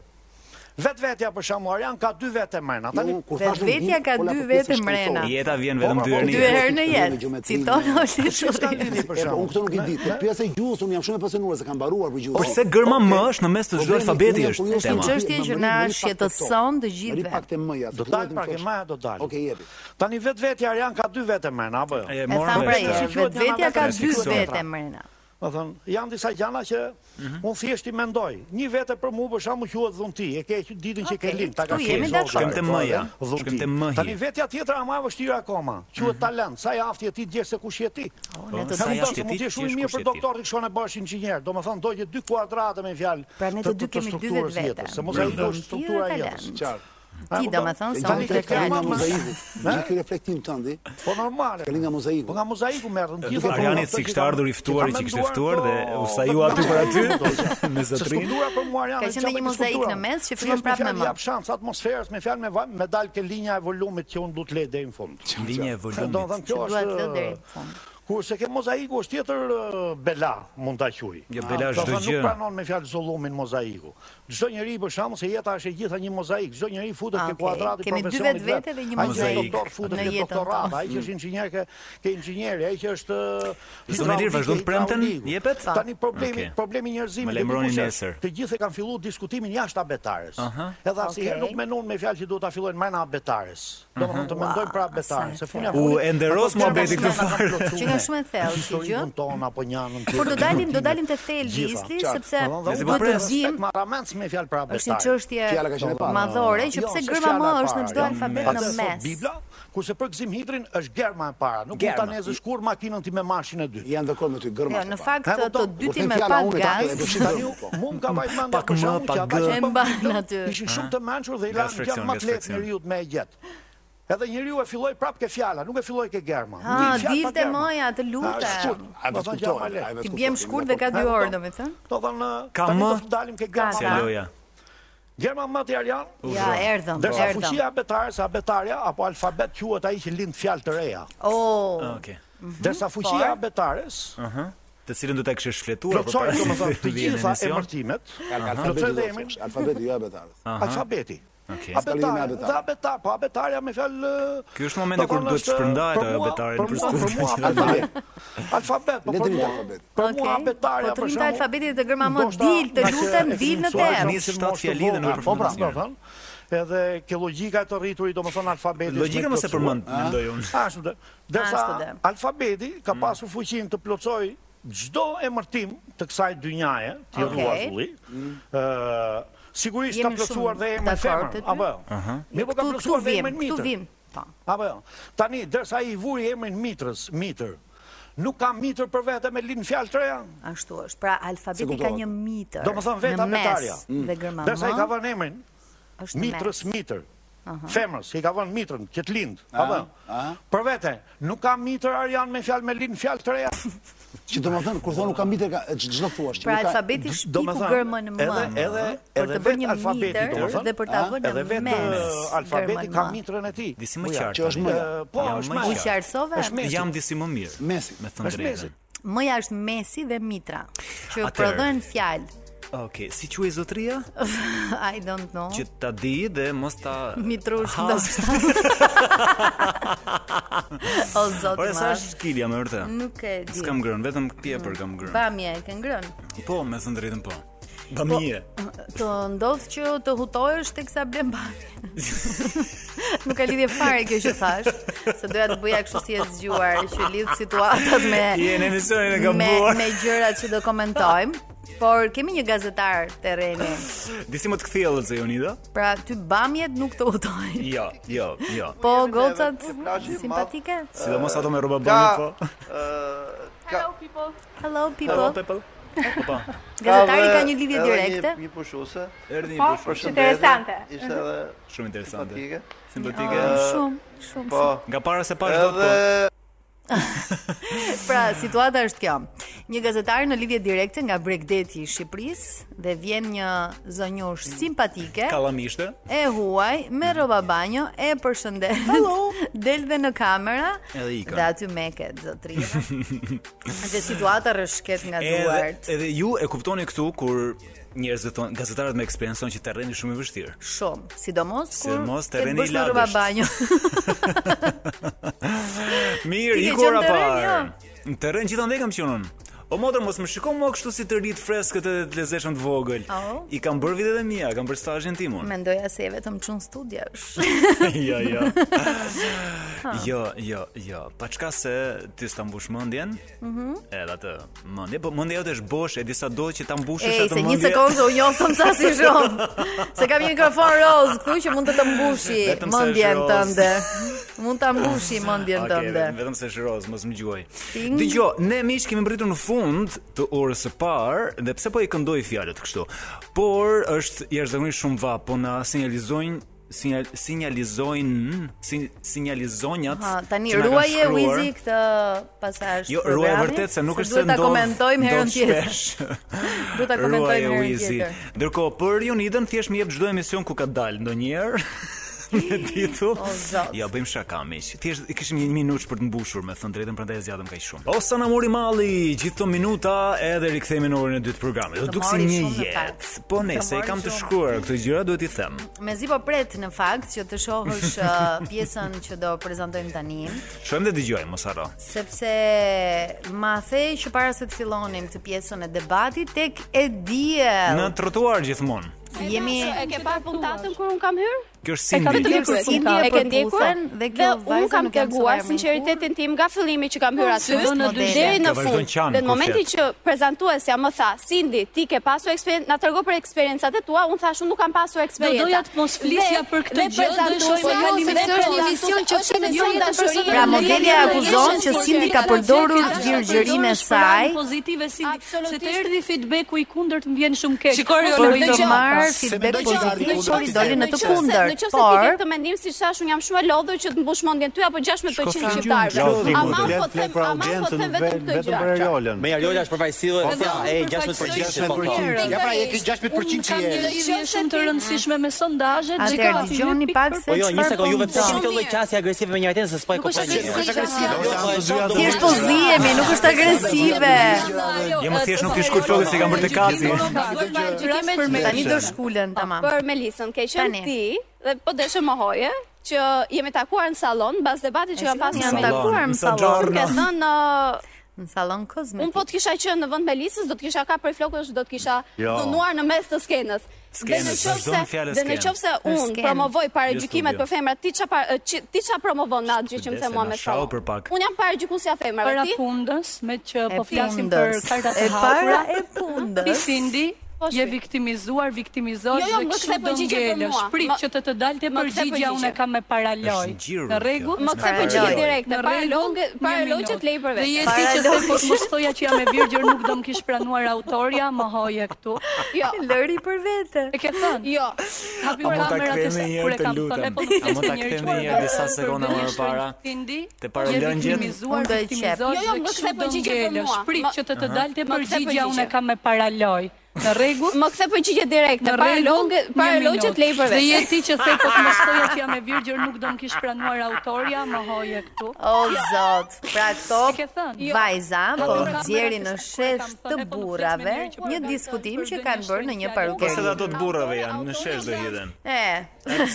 Speaker 13: Vetë vetja për shamu Arjan ka dy vete mërna. Tani,
Speaker 2: Vetvetja
Speaker 11: po
Speaker 2: ka dy vete mrena.
Speaker 8: jeta vjen vetëm
Speaker 13: Po,
Speaker 8: dy
Speaker 13: po,
Speaker 8: herë. në
Speaker 2: Dy
Speaker 8: jetë.
Speaker 2: herë në jetë. Citon Oli
Speaker 13: që s'ka lidi për shamu. Unë këto nuk i di.
Speaker 11: Pjesa po, e gjuhës unë jam shumë e pasionuar se kam mbaruar për gjuhën.
Speaker 8: Pse gërma më është në mes të çdo alfabeti është
Speaker 2: Është
Speaker 8: tema.
Speaker 2: një çështje që na shqetëson të gjithëve.
Speaker 11: Pak të mëja.
Speaker 13: Do dalë pak e maja, do dalë.
Speaker 11: Okej, jepi.
Speaker 13: Tani vetë vetja Arjan ka dy vete mërna, apo jo?
Speaker 8: E
Speaker 2: E
Speaker 8: morëm
Speaker 2: tham pra
Speaker 8: vesh.
Speaker 2: e,
Speaker 13: Është që
Speaker 2: vetvetja ka
Speaker 13: quhet
Speaker 2: dy
Speaker 8: anatema.
Speaker 2: vete mrena.
Speaker 13: Më thënë, janë disa gjana që
Speaker 8: Mhm.
Speaker 13: unë thjesht i mendoj. Një vete për mua për shkakun quhet dhunti. E ke ditën që ke
Speaker 2: Okej,
Speaker 13: lind, ta ka
Speaker 2: këtu
Speaker 13: qenë
Speaker 2: jemi
Speaker 13: zoti.
Speaker 2: dakord.
Speaker 8: Shkem te mëja,
Speaker 13: Dhunti.
Speaker 8: shkem te Mhm. mëhi.
Speaker 13: Tani vetja tjetër ama e vështirë akoma. Quhet talent. Sa i aftë je ti djesh se kush je ti?
Speaker 2: Ne
Speaker 8: Po,
Speaker 2: të
Speaker 8: sa
Speaker 13: Sa
Speaker 2: dy
Speaker 13: i
Speaker 8: jashtë
Speaker 13: aftë
Speaker 8: je ti,
Speaker 13: mund të jesh
Speaker 8: djesh
Speaker 13: shumë mirë
Speaker 8: kush je
Speaker 13: për
Speaker 8: ti.
Speaker 13: doktor që shkon e bësh inxhinier. Domethënë do që dy kuadrate me fjalë.
Speaker 2: Pra ne të dy kemi dy
Speaker 13: strukturës
Speaker 2: vetvete.
Speaker 13: jetës, Se mos ai do
Speaker 2: Dhunti dhe
Speaker 13: struktura e
Speaker 2: talent.
Speaker 13: jetës. Qartë. po
Speaker 2: Ti
Speaker 13: Apo
Speaker 2: domethënë se
Speaker 13: tani
Speaker 2: unë
Speaker 13: ke
Speaker 2: ke fjalë
Speaker 13: tema
Speaker 2: më-
Speaker 13: mozaiku.
Speaker 11: Gjithë ky reflektim tënd,
Speaker 13: Po normale.
Speaker 11: Kali nga mozaiku.
Speaker 13: Po nga mozaiku merrën gjithë.
Speaker 8: Ariani si kishte ardhur i ftuar, që kishte ftuar dhe u saju aty për aty me zotrin.
Speaker 13: Struktura për mua Ariani.
Speaker 2: Ka qenë një mozaik në mes që fillon prapë me më.
Speaker 13: Jap shans atmosferës me fjalë me vaj- me dal ke linja e volumit që unë du të lej deri në fund.
Speaker 8: Linja e
Speaker 13: Do të
Speaker 8: volumit.
Speaker 13: thënë kjo
Speaker 2: Duhet lë deri
Speaker 13: është
Speaker 2: në fund.
Speaker 13: Kur se ke mozaiku është tjetër ë, bela, mund ta quaj. Ah,
Speaker 8: Jo, bela është
Speaker 13: Do
Speaker 8: çdo
Speaker 13: thënë,
Speaker 8: gjë.
Speaker 13: Nuk pranon me fjalë zullumin mozaiku. Çdo njeri për shkakun se jeta është e gjitha një mozaik. Çdo njeri futet
Speaker 2: Ah,
Speaker 13: ke
Speaker 2: okay.
Speaker 13: kuadrati
Speaker 2: Kemi dy
Speaker 13: profesionit
Speaker 2: vetvete
Speaker 13: vet.
Speaker 2: dhe një
Speaker 13: Ai që është
Speaker 2: mozaik
Speaker 13: doktor futet
Speaker 2: në
Speaker 13: ke
Speaker 2: jetën
Speaker 13: doktorat,
Speaker 2: tonë.
Speaker 13: ai që është inxhinier ke ke inxhinieri, ai që është eh, ë,
Speaker 8: Zomelir,
Speaker 13: hidraulik,
Speaker 8: vazhdon të premten?
Speaker 13: hidrauliku.
Speaker 8: Jepet?
Speaker 13: Tani problemi
Speaker 8: Okay.
Speaker 13: problemi njerëzimit
Speaker 8: Më
Speaker 13: e di
Speaker 8: lajmëroni
Speaker 13: kush është.
Speaker 8: nesër.
Speaker 13: Të gjithë e kanë filluar diskutimin jashtë abetares.
Speaker 8: Aha.
Speaker 13: Edhe asnjëherë
Speaker 8: Okay.
Speaker 13: nuk menon me fjalë që duhet ta fillojnë mbrana abetares. Domethënë të mendojmë për abetares, se po funja
Speaker 8: U enderos muhabeti këtë farë.
Speaker 2: Që ka shumë e thellë, si gjë.
Speaker 13: Historikun ton apo një anën
Speaker 2: Por do dalim do dalim te thelbi Isli sepse do të vim
Speaker 13: marramend me fjalë pra për abetares.
Speaker 2: Është një çështje Fjala ka qenë e parë. madhore, që
Speaker 13: Jo,
Speaker 2: pse gërma më është në çdo alfabet në mes.
Speaker 13: Bibla, kurse për gëzim hidrin është gërma e para. Nuk mund ta
Speaker 11: Germa.
Speaker 13: nezësh kur makinën ti me mashin e dytë. Janë dakord me ty,
Speaker 2: Jo, në fakt
Speaker 13: po,
Speaker 2: të dyti me pak gaz.
Speaker 13: Mu më ka vajt mend
Speaker 2: Pak
Speaker 13: për
Speaker 2: më,
Speaker 13: shkakun
Speaker 2: pak
Speaker 13: që ata
Speaker 2: gë.
Speaker 13: që
Speaker 2: E
Speaker 13: bën
Speaker 2: mban
Speaker 13: video,
Speaker 2: aty.
Speaker 13: Ishin shumë
Speaker 2: Aha.
Speaker 13: të mençur dhe i lanë
Speaker 8: Gasfreksion,
Speaker 13: gjallë më të lehtë
Speaker 8: gasfreksion.
Speaker 13: njeriu me e gjet. Edhe njeriu e filloi prap ke fjala, nuk e filloi ke germa.
Speaker 2: Ha,
Speaker 13: Një fjalë pa
Speaker 2: dilte
Speaker 13: germa.
Speaker 2: moja, të
Speaker 13: A,
Speaker 2: lutem.
Speaker 13: shkurt. A
Speaker 9: po
Speaker 13: do të kuptohet, a do të
Speaker 2: Ti bjem
Speaker 13: kuptohet,
Speaker 2: shkurt dhe
Speaker 13: jemi
Speaker 2: ka dy
Speaker 13: dakord.
Speaker 2: orë, domethënë.
Speaker 13: Do thënë,
Speaker 8: Ka
Speaker 13: tani
Speaker 8: më?
Speaker 13: do të dalim ke germa.
Speaker 8: Se
Speaker 13: pa.
Speaker 8: loja.
Speaker 13: Gjerma materialian.
Speaker 2: Ja, Urdhro. erdhëm,
Speaker 13: Dërsa
Speaker 2: erdhëm.
Speaker 13: po. fuqia abetare, sa abetarja, apo alfabet quhet ai që lind fjalë të reja.
Speaker 2: Oh.
Speaker 13: Ah,
Speaker 8: Okej.
Speaker 13: Dërsa fuqia
Speaker 2: Por?
Speaker 13: abetares,
Speaker 8: Aha. Të cilën do ta kishe shfletuar po
Speaker 13: plotësoj
Speaker 8: para se
Speaker 13: domethënë
Speaker 8: të
Speaker 13: të
Speaker 8: vijë në
Speaker 13: gjitha
Speaker 8: emision.
Speaker 13: emërtimet.
Speaker 8: Aha.
Speaker 13: Plotësoj dhe emrin.
Speaker 11: Alfabeti jo abetarës.
Speaker 8: Aha.
Speaker 13: Alfabeti.
Speaker 8: Okej.
Speaker 13: Abetarja, dhe abetar, po abetarja me fjalë
Speaker 8: Ky është momenti kur duhet të shpërndahet ajo betare në
Speaker 13: studio.
Speaker 8: përstudim.
Speaker 13: Alfabet, po
Speaker 11: Le të
Speaker 13: për
Speaker 11: rinj
Speaker 13: mua.
Speaker 11: alfabet.
Speaker 13: Për mua abetarja
Speaker 2: Po të
Speaker 13: për
Speaker 2: rrim të
Speaker 13: shembull.
Speaker 2: alfabetit të gërma më
Speaker 13: Ndoshta
Speaker 2: dil, të
Speaker 13: nga që
Speaker 2: lutem,
Speaker 13: e
Speaker 2: dil në
Speaker 13: fiksuar
Speaker 2: terë.
Speaker 8: nisë 7 fjali dhe nuk
Speaker 13: Ah, po, pra,
Speaker 8: përfundon asnjëra.
Speaker 13: do thënë, Edhe ke logjika e të rriturit, domethënë alfabeti.
Speaker 8: Logjika mos e përmend, mendoj unë. Mm.
Speaker 13: Ashtu do.
Speaker 2: Ashtu
Speaker 13: Dersa
Speaker 2: dhe.
Speaker 13: alfabeti ka pasur fuqinë të plotësoj çdo emërtim të kësaj dynjaje, ti
Speaker 2: Okej. Mm.
Speaker 13: rrua zulli. Ë Sigurisht ka
Speaker 2: Jemi
Speaker 13: plotësuar
Speaker 2: shumë
Speaker 13: dhe emër
Speaker 2: dakord
Speaker 13: femër,
Speaker 2: të dy.
Speaker 13: apo?
Speaker 8: Aha.
Speaker 13: Mirë, po ka
Speaker 2: Këtu këtu
Speaker 13: plotësuar dhe
Speaker 2: vim,
Speaker 13: emrin
Speaker 2: këtu
Speaker 13: mitër.
Speaker 2: vim. Po.
Speaker 13: Apo jo. Tani, dersa i vuri emrin mitrës, mitër, nuk ka mitër për vete me linë fjalë të reja.
Speaker 2: Ashtu është. Pra alfabeti
Speaker 11: Se
Speaker 2: ka
Speaker 11: kuptohet.
Speaker 2: një mitër.
Speaker 13: Do më thënë vetë
Speaker 2: në mes
Speaker 13: abetarja.
Speaker 2: Dhe gërma më.
Speaker 13: Dersa i ka vënë emrin,
Speaker 2: është në mes.
Speaker 13: mitrës mitër.
Speaker 2: Aha.
Speaker 13: Femrës, i ka vënë mitrën, që të lindë. Apo? jo? Për vete, nuk ka mitër Arjan me fjalë me linë fjalë të reja.
Speaker 11: Që do më thënë, kur thonë nuk kam bitë, ç'do thuash? që
Speaker 2: Pra
Speaker 11: nuk ka-
Speaker 2: alfabeti
Speaker 13: Do me
Speaker 2: shpiku
Speaker 13: thënë,
Speaker 2: gërmën më.
Speaker 13: Edhe edhe
Speaker 2: për të
Speaker 13: edhe
Speaker 2: bërë
Speaker 13: vetë
Speaker 2: një
Speaker 13: alfabeti,
Speaker 2: mitër
Speaker 13: do me thënë,
Speaker 2: dhe për ta
Speaker 13: a?
Speaker 2: vënë
Speaker 13: edhe
Speaker 2: në
Speaker 13: vetë
Speaker 2: mes,
Speaker 13: ë, alfabeti
Speaker 2: gërmën
Speaker 13: ka
Speaker 2: më.
Speaker 13: mitrën e tij.
Speaker 8: Disi më
Speaker 11: Po ja,
Speaker 8: qartë.
Speaker 11: që është
Speaker 8: tani.
Speaker 11: më-
Speaker 13: Ë, Po,
Speaker 8: Jam
Speaker 13: është
Speaker 8: më
Speaker 13: më
Speaker 2: U
Speaker 8: qartë.
Speaker 2: qartësove?
Speaker 13: Është mesi.
Speaker 8: Jam disi më mirë.
Speaker 11: Mesi.
Speaker 8: Me thënë
Speaker 13: Është
Speaker 8: drejtën.
Speaker 2: Mëja është mesi dhe mitra, që
Speaker 8: Atëherë.
Speaker 2: prodhojnë fjalë.
Speaker 8: Okej, si quaj zotria?
Speaker 2: Oh. I don't know.
Speaker 8: Që ta di dhe mos ta
Speaker 2: Mitrush
Speaker 8: Ha,
Speaker 2: ndoshta. o zot
Speaker 8: Ore sa
Speaker 2: ma.
Speaker 8: është kilja më vërtet?
Speaker 2: Nuk e di.
Speaker 8: S'kam grën, vetëm pjepër kam grën.
Speaker 2: Bamje e ke ngrënë.
Speaker 8: Po, me thënë drejtën po. Bamie.
Speaker 2: Të ndodh që të hutohesh teksa blen bamje. Nuk ka lidhje fare kjo që thash, se doja të bëja kështu si e zgjuar që lidh situatat me
Speaker 8: Je në emisionin e
Speaker 2: me,
Speaker 8: gabuar.
Speaker 2: me gjërat që do komentojmë. Por kemi një gazetar terreni.
Speaker 8: Disi më të kthjellët se Jonida?
Speaker 2: Pra ty bamjet nuk të hutojnë.
Speaker 8: Jo, jo, jo.
Speaker 2: Po gocat simpatike.
Speaker 8: Sidomos ato me rroba bami po.
Speaker 2: Hello
Speaker 8: Hello
Speaker 2: people.
Speaker 8: people. Po.
Speaker 2: Gazetari ka një lidhje direkte.
Speaker 14: Një pushuese.
Speaker 8: Erdhi një bush
Speaker 14: përshëndetje,
Speaker 15: interesante.
Speaker 14: Ishte edhe
Speaker 8: shumë interesante.
Speaker 14: simpatike.
Speaker 8: Simpatike.
Speaker 2: Shumë, shumë.
Speaker 14: Po.
Speaker 8: Nga para se pash do
Speaker 14: Edhe
Speaker 8: të
Speaker 2: Pra, situata është kjo. Një gazetar në lidhje direkte nga Bregdeti i Shqipërisë dhe vjen një zonjush simpatike.
Speaker 8: kallamishte.
Speaker 2: E huaj, me roba banjo, e përshëndet. Hello. Del dhe në kamera.
Speaker 8: Edhe ikën.
Speaker 2: Dhe aty meket zotria. dhe situata rrshket nga
Speaker 8: Edhe
Speaker 2: duart.
Speaker 8: edhe ju e kuptoni këtu kur njerëzit thonë gazetarët me eksperiencë thonë që terreni është shumë i vështirë.
Speaker 2: Shumë, sidomos kur
Speaker 8: Sidomos
Speaker 2: ke të
Speaker 8: terreni
Speaker 2: bësh
Speaker 8: i
Speaker 2: me roba
Speaker 8: lagësht.
Speaker 2: banjo.
Speaker 8: Mirë,
Speaker 2: Ti ke
Speaker 8: i
Speaker 2: qenë
Speaker 8: kora
Speaker 2: në terren,
Speaker 8: parë.
Speaker 2: jo?
Speaker 8: Në terren gjithandaj kam qenë unë. O motër, mos më shiko mua kështu si të rritë freskët edhe të lezeshëm të vogël.
Speaker 2: Au.
Speaker 8: I kam bërë vitet e mia, kam bërë stazhin tim unë.
Speaker 2: Mendoja se e vetëm çun studiosh.
Speaker 8: jo, jo. jo, jo, jo. Pa çka se ti s'ta mbush mendjen? Mhm. Edhe atë mendje, po mendja jote është bosh, e disa do që ta mbushësh
Speaker 2: Ej,
Speaker 8: atë
Speaker 2: se një
Speaker 8: mendje.
Speaker 2: sekondë unë njoftëm sa si shumë. Se kam një mikrofon roz këtu që mund të të mbushi
Speaker 8: Vetëm se
Speaker 2: mendjen
Speaker 8: është roz.
Speaker 2: tënde. Mund ta mbushi mendjen
Speaker 8: Okej,
Speaker 2: tënde.
Speaker 8: vetëm, vetëm se shroz, mos më gjuaj.
Speaker 2: Ting.
Speaker 8: Dgjoj, ne miq kemi mbritur në fund të orës së parë dhe pse po i këndoj fjalët kështu. Por është jashtëzakonisht shumë vap, po na sinjalizojnë sinjal, sinjalizojnë sin, sinjalizonjat.
Speaker 2: Ha, tani
Speaker 8: që na kanë
Speaker 2: ruaje
Speaker 8: shkruar.
Speaker 2: Wizi këtë pasazh.
Speaker 8: Jo, ruaj
Speaker 2: programit,
Speaker 8: vërtet se nuk është se
Speaker 2: duhet ta
Speaker 8: ndodh.
Speaker 2: komentojmë herën
Speaker 8: ndodh
Speaker 2: tjetër.
Speaker 8: shpesh.
Speaker 2: Duhet ta komentojmë
Speaker 8: Ruaje
Speaker 2: herën
Speaker 8: Wizi.
Speaker 2: tjetër.
Speaker 8: Ndërkohë për Jonidën thjesht më jep çdo emision ku ka dalë ndonjëherë. titull. Ja bëjmë shaka miq. Thjesht kishim një minutë për të mbushur, me thënë drejtën, prandaj e zgjatëm kaq shumë. O sa na mori malli, gjithë këto minuta edhe rikthehemi në orën e dytë të programit. Do
Speaker 2: Të
Speaker 8: duk si
Speaker 2: mori
Speaker 8: një
Speaker 2: shumë, në
Speaker 8: jetë.
Speaker 2: fakt.
Speaker 8: Po
Speaker 2: Të
Speaker 8: nëse
Speaker 2: mori
Speaker 8: i kam të
Speaker 2: shumë.
Speaker 8: shkruar këto gjëra, duhet i them.
Speaker 2: Me zi po pret në fakt që të shohësh ë, pjesën që do prezantojmë tani,
Speaker 8: Shojmë dhe dëgjojmë, mos harro.
Speaker 2: sepse ma the që para se të fillonim këtë pjesën e debatit tek e diell.
Speaker 8: Në trotuar gjithmonë.
Speaker 2: Jemi
Speaker 14: E ke parë puntatën kur un kam hyrë?
Speaker 8: Kjo është
Speaker 14: E kam
Speaker 8: Cindy.
Speaker 14: vetëm
Speaker 2: Kjo
Speaker 14: një
Speaker 2: është
Speaker 14: Cindy
Speaker 2: Cindy e
Speaker 14: e ke ndjekur
Speaker 2: përputhen dhe kjo
Speaker 14: un
Speaker 2: vajza
Speaker 14: kam
Speaker 2: nuk jam
Speaker 14: treguar
Speaker 2: Sara Merkur.
Speaker 14: sinqeritetin tim nga fillimi që kam hyrë
Speaker 2: Po,
Speaker 14: aty
Speaker 2: si është
Speaker 14: në dy
Speaker 2: modele.
Speaker 14: deri në
Speaker 8: Ka vazhdon
Speaker 14: fund.
Speaker 8: qanë,
Speaker 14: Dhe në
Speaker 8: kur
Speaker 14: momentin
Speaker 8: po flet.
Speaker 14: që prezantuesja më tha, "Cindy, ti ke pasur eksperiencë, na tregu për eksperjencat e tua." Un thash, "Un nuk kam pasur eksperiencë."
Speaker 15: doja të mos flisja për këtë gjë, dëshoj nga limiti.
Speaker 14: dhe
Speaker 15: Kjo është një
Speaker 14: prezantuesi-
Speaker 15: mision që
Speaker 14: është
Speaker 15: flet
Speaker 14: emision
Speaker 15: jetën
Speaker 14: dashurie.
Speaker 15: personale.
Speaker 2: Pra modelja e akuzon që Cindy ka përdorur virgjërinë e saj
Speaker 15: pozitive si se të erdhi feedbacku i kundërt më vjen shumë keq.
Speaker 2: Shikoj, Por Olga, të marr Se feedback mendoj që pozitiv,
Speaker 14: Nëse-
Speaker 2: por i doli në të
Speaker 14: nëse-
Speaker 2: kundërt,
Speaker 14: Nëse ti
Speaker 2: por-
Speaker 14: ke këtë mendim si thash, unë jam shumë e lodhur që të mbush mendjen ty apo 16% shqiptarëve. Ama po të them, ama po të them vetëm këtë gjë.
Speaker 16: Ariolën. Me Ariola është përfaqësille.
Speaker 17: Po, po,
Speaker 16: E
Speaker 17: për
Speaker 16: 16%. po, po.
Speaker 17: 16%. Ja, pra, je ky 16% që je.
Speaker 15: lidhje shumë të rëndësishme me sondazhet,
Speaker 2: Atëherë,
Speaker 15: gjëra
Speaker 2: dëgjoni pak se
Speaker 16: Po jo, një
Speaker 2: çfarë
Speaker 16: sekond, juve
Speaker 2: po
Speaker 16: pse keni
Speaker 2: ndodh.
Speaker 16: këtë lloj qasje agresive me njëri tjetrin se s'po e
Speaker 15: Nuk është
Speaker 16: kuptoj. gjë.
Speaker 15: agresive,
Speaker 2: Thjesht po zihemi, nuk është agresive.
Speaker 8: Jo, më thjesht nuk ti shkurt flokët se i kam bërë të kaci.
Speaker 14: Gjykimet
Speaker 2: Për me tani do shkulen tamam.
Speaker 14: Për Melisën ke
Speaker 2: Tani.
Speaker 14: qenë ti dhe po deshe më hoje që jemi takuar në sallon mbas debatit që kam pasur
Speaker 2: Janë
Speaker 14: me
Speaker 2: takuar në
Speaker 14: Nuk
Speaker 2: sallon.
Speaker 14: Ke thënë ë,
Speaker 2: Në sallon kozmetik.
Speaker 14: Unë po të kisha qenë në vend Melisës, do të kisha kapur flokësh, do të kisha
Speaker 2: Jo.
Speaker 14: dhunuar në mes të skenës.
Speaker 2: Skenës,
Speaker 14: qoftë
Speaker 2: vazhdon
Speaker 14: se-
Speaker 2: fjala
Speaker 14: dhe në
Speaker 2: skenë.
Speaker 14: qoftë se
Speaker 2: Për
Speaker 14: unë
Speaker 2: skenë.
Speaker 14: promovoj para
Speaker 8: Jo
Speaker 14: gjykimet
Speaker 8: studio.
Speaker 14: për femrat, ti çfarë para- që- ti çfarë promovon në atë gjë që më the mua me
Speaker 8: Shau
Speaker 14: sallon?
Speaker 8: për pak.
Speaker 14: Unë jam para gjykusja e femrave,
Speaker 15: Para
Speaker 14: ti?
Speaker 15: pundës, me që
Speaker 14: E
Speaker 15: po flasim për
Speaker 14: pundës.
Speaker 15: kartat e
Speaker 14: E para
Speaker 15: hapura.
Speaker 14: e pundës.
Speaker 15: Ti Cindy, je viktimizuar, viktimizosh
Speaker 14: Po, Jo, jo,
Speaker 15: dhe
Speaker 14: më
Speaker 15: kështu
Speaker 14: kthe
Speaker 15: do
Speaker 14: përgjigje për
Speaker 15: ngelesh.
Speaker 14: mua.
Speaker 15: Prit
Speaker 14: Më-
Speaker 15: që të të dalte
Speaker 14: më kthe
Speaker 15: përgjigja unë e
Speaker 14: përgjigje.
Speaker 15: kam me paraloj.
Speaker 14: Është ngjirur
Speaker 15: Në
Speaker 14: kjo.
Speaker 15: rregull,
Speaker 14: Më kthe përgjigje
Speaker 15: paraloj.
Speaker 14: direkte,
Speaker 15: Në
Speaker 14: paraloj-
Speaker 15: rregull, një
Speaker 14: paraloj që
Speaker 15: minutë.
Speaker 14: t'lej për vetë.
Speaker 15: Dhe je ti që the
Speaker 14: Paraloj.
Speaker 15: po mos thoja që jam e virgjër, nuk do më kish pranuar autoria, më hoje këtu.
Speaker 14: Jo.
Speaker 2: Lëri për vete.
Speaker 15: E ke thënë?
Speaker 14: Jo.
Speaker 15: Hapi
Speaker 8: A mund ta
Speaker 15: kamerat e
Speaker 8: kthejmë
Speaker 15: se
Speaker 8: një
Speaker 15: kur
Speaker 8: herë
Speaker 15: e
Speaker 8: të
Speaker 15: kam thënë, e
Speaker 8: lutem?
Speaker 15: po nuk
Speaker 8: A mund ta
Speaker 15: ishte njëherë
Speaker 8: kthejmë një herë
Speaker 15: çfarë
Speaker 8: disa
Speaker 15: bërë,
Speaker 8: sekonda
Speaker 15: bëni
Speaker 8: më
Speaker 15: shënjë
Speaker 8: para?
Speaker 15: Cindy,
Speaker 8: Te para lëngjen?
Speaker 15: Viktimizuar,
Speaker 2: Unë do e qep.
Speaker 15: viktimizuar,
Speaker 2: Jo, jo,
Speaker 15: dhe
Speaker 2: më
Speaker 15: kështu
Speaker 2: kthe
Speaker 15: do
Speaker 2: përgjigje për
Speaker 15: ngelesh.
Speaker 2: mua.
Speaker 15: Prit
Speaker 2: Më-
Speaker 15: që të të
Speaker 2: Aha.
Speaker 15: dalte
Speaker 14: Më kthe
Speaker 15: përgjigja unë
Speaker 14: përgjigje.
Speaker 15: e kam me paraloj. Në rregull?
Speaker 14: Më kthe përgjigje direkte, paraloj paraloj që t'lej për vetë.
Speaker 15: Dhe je ti që the po të mos thoja që jam e virgjër, nuk do më kish pranuar autoria, më hoje këtu.
Speaker 2: O zot, pra këto
Speaker 15: thënë?
Speaker 2: vajza po
Speaker 15: Jo.
Speaker 2: nxjerrin në shesh të burrave një diskutim që kanë bërë në një
Speaker 8: Pse
Speaker 2: parukeri.
Speaker 8: ato të burrave janë, në shesh do hidhen.
Speaker 2: E,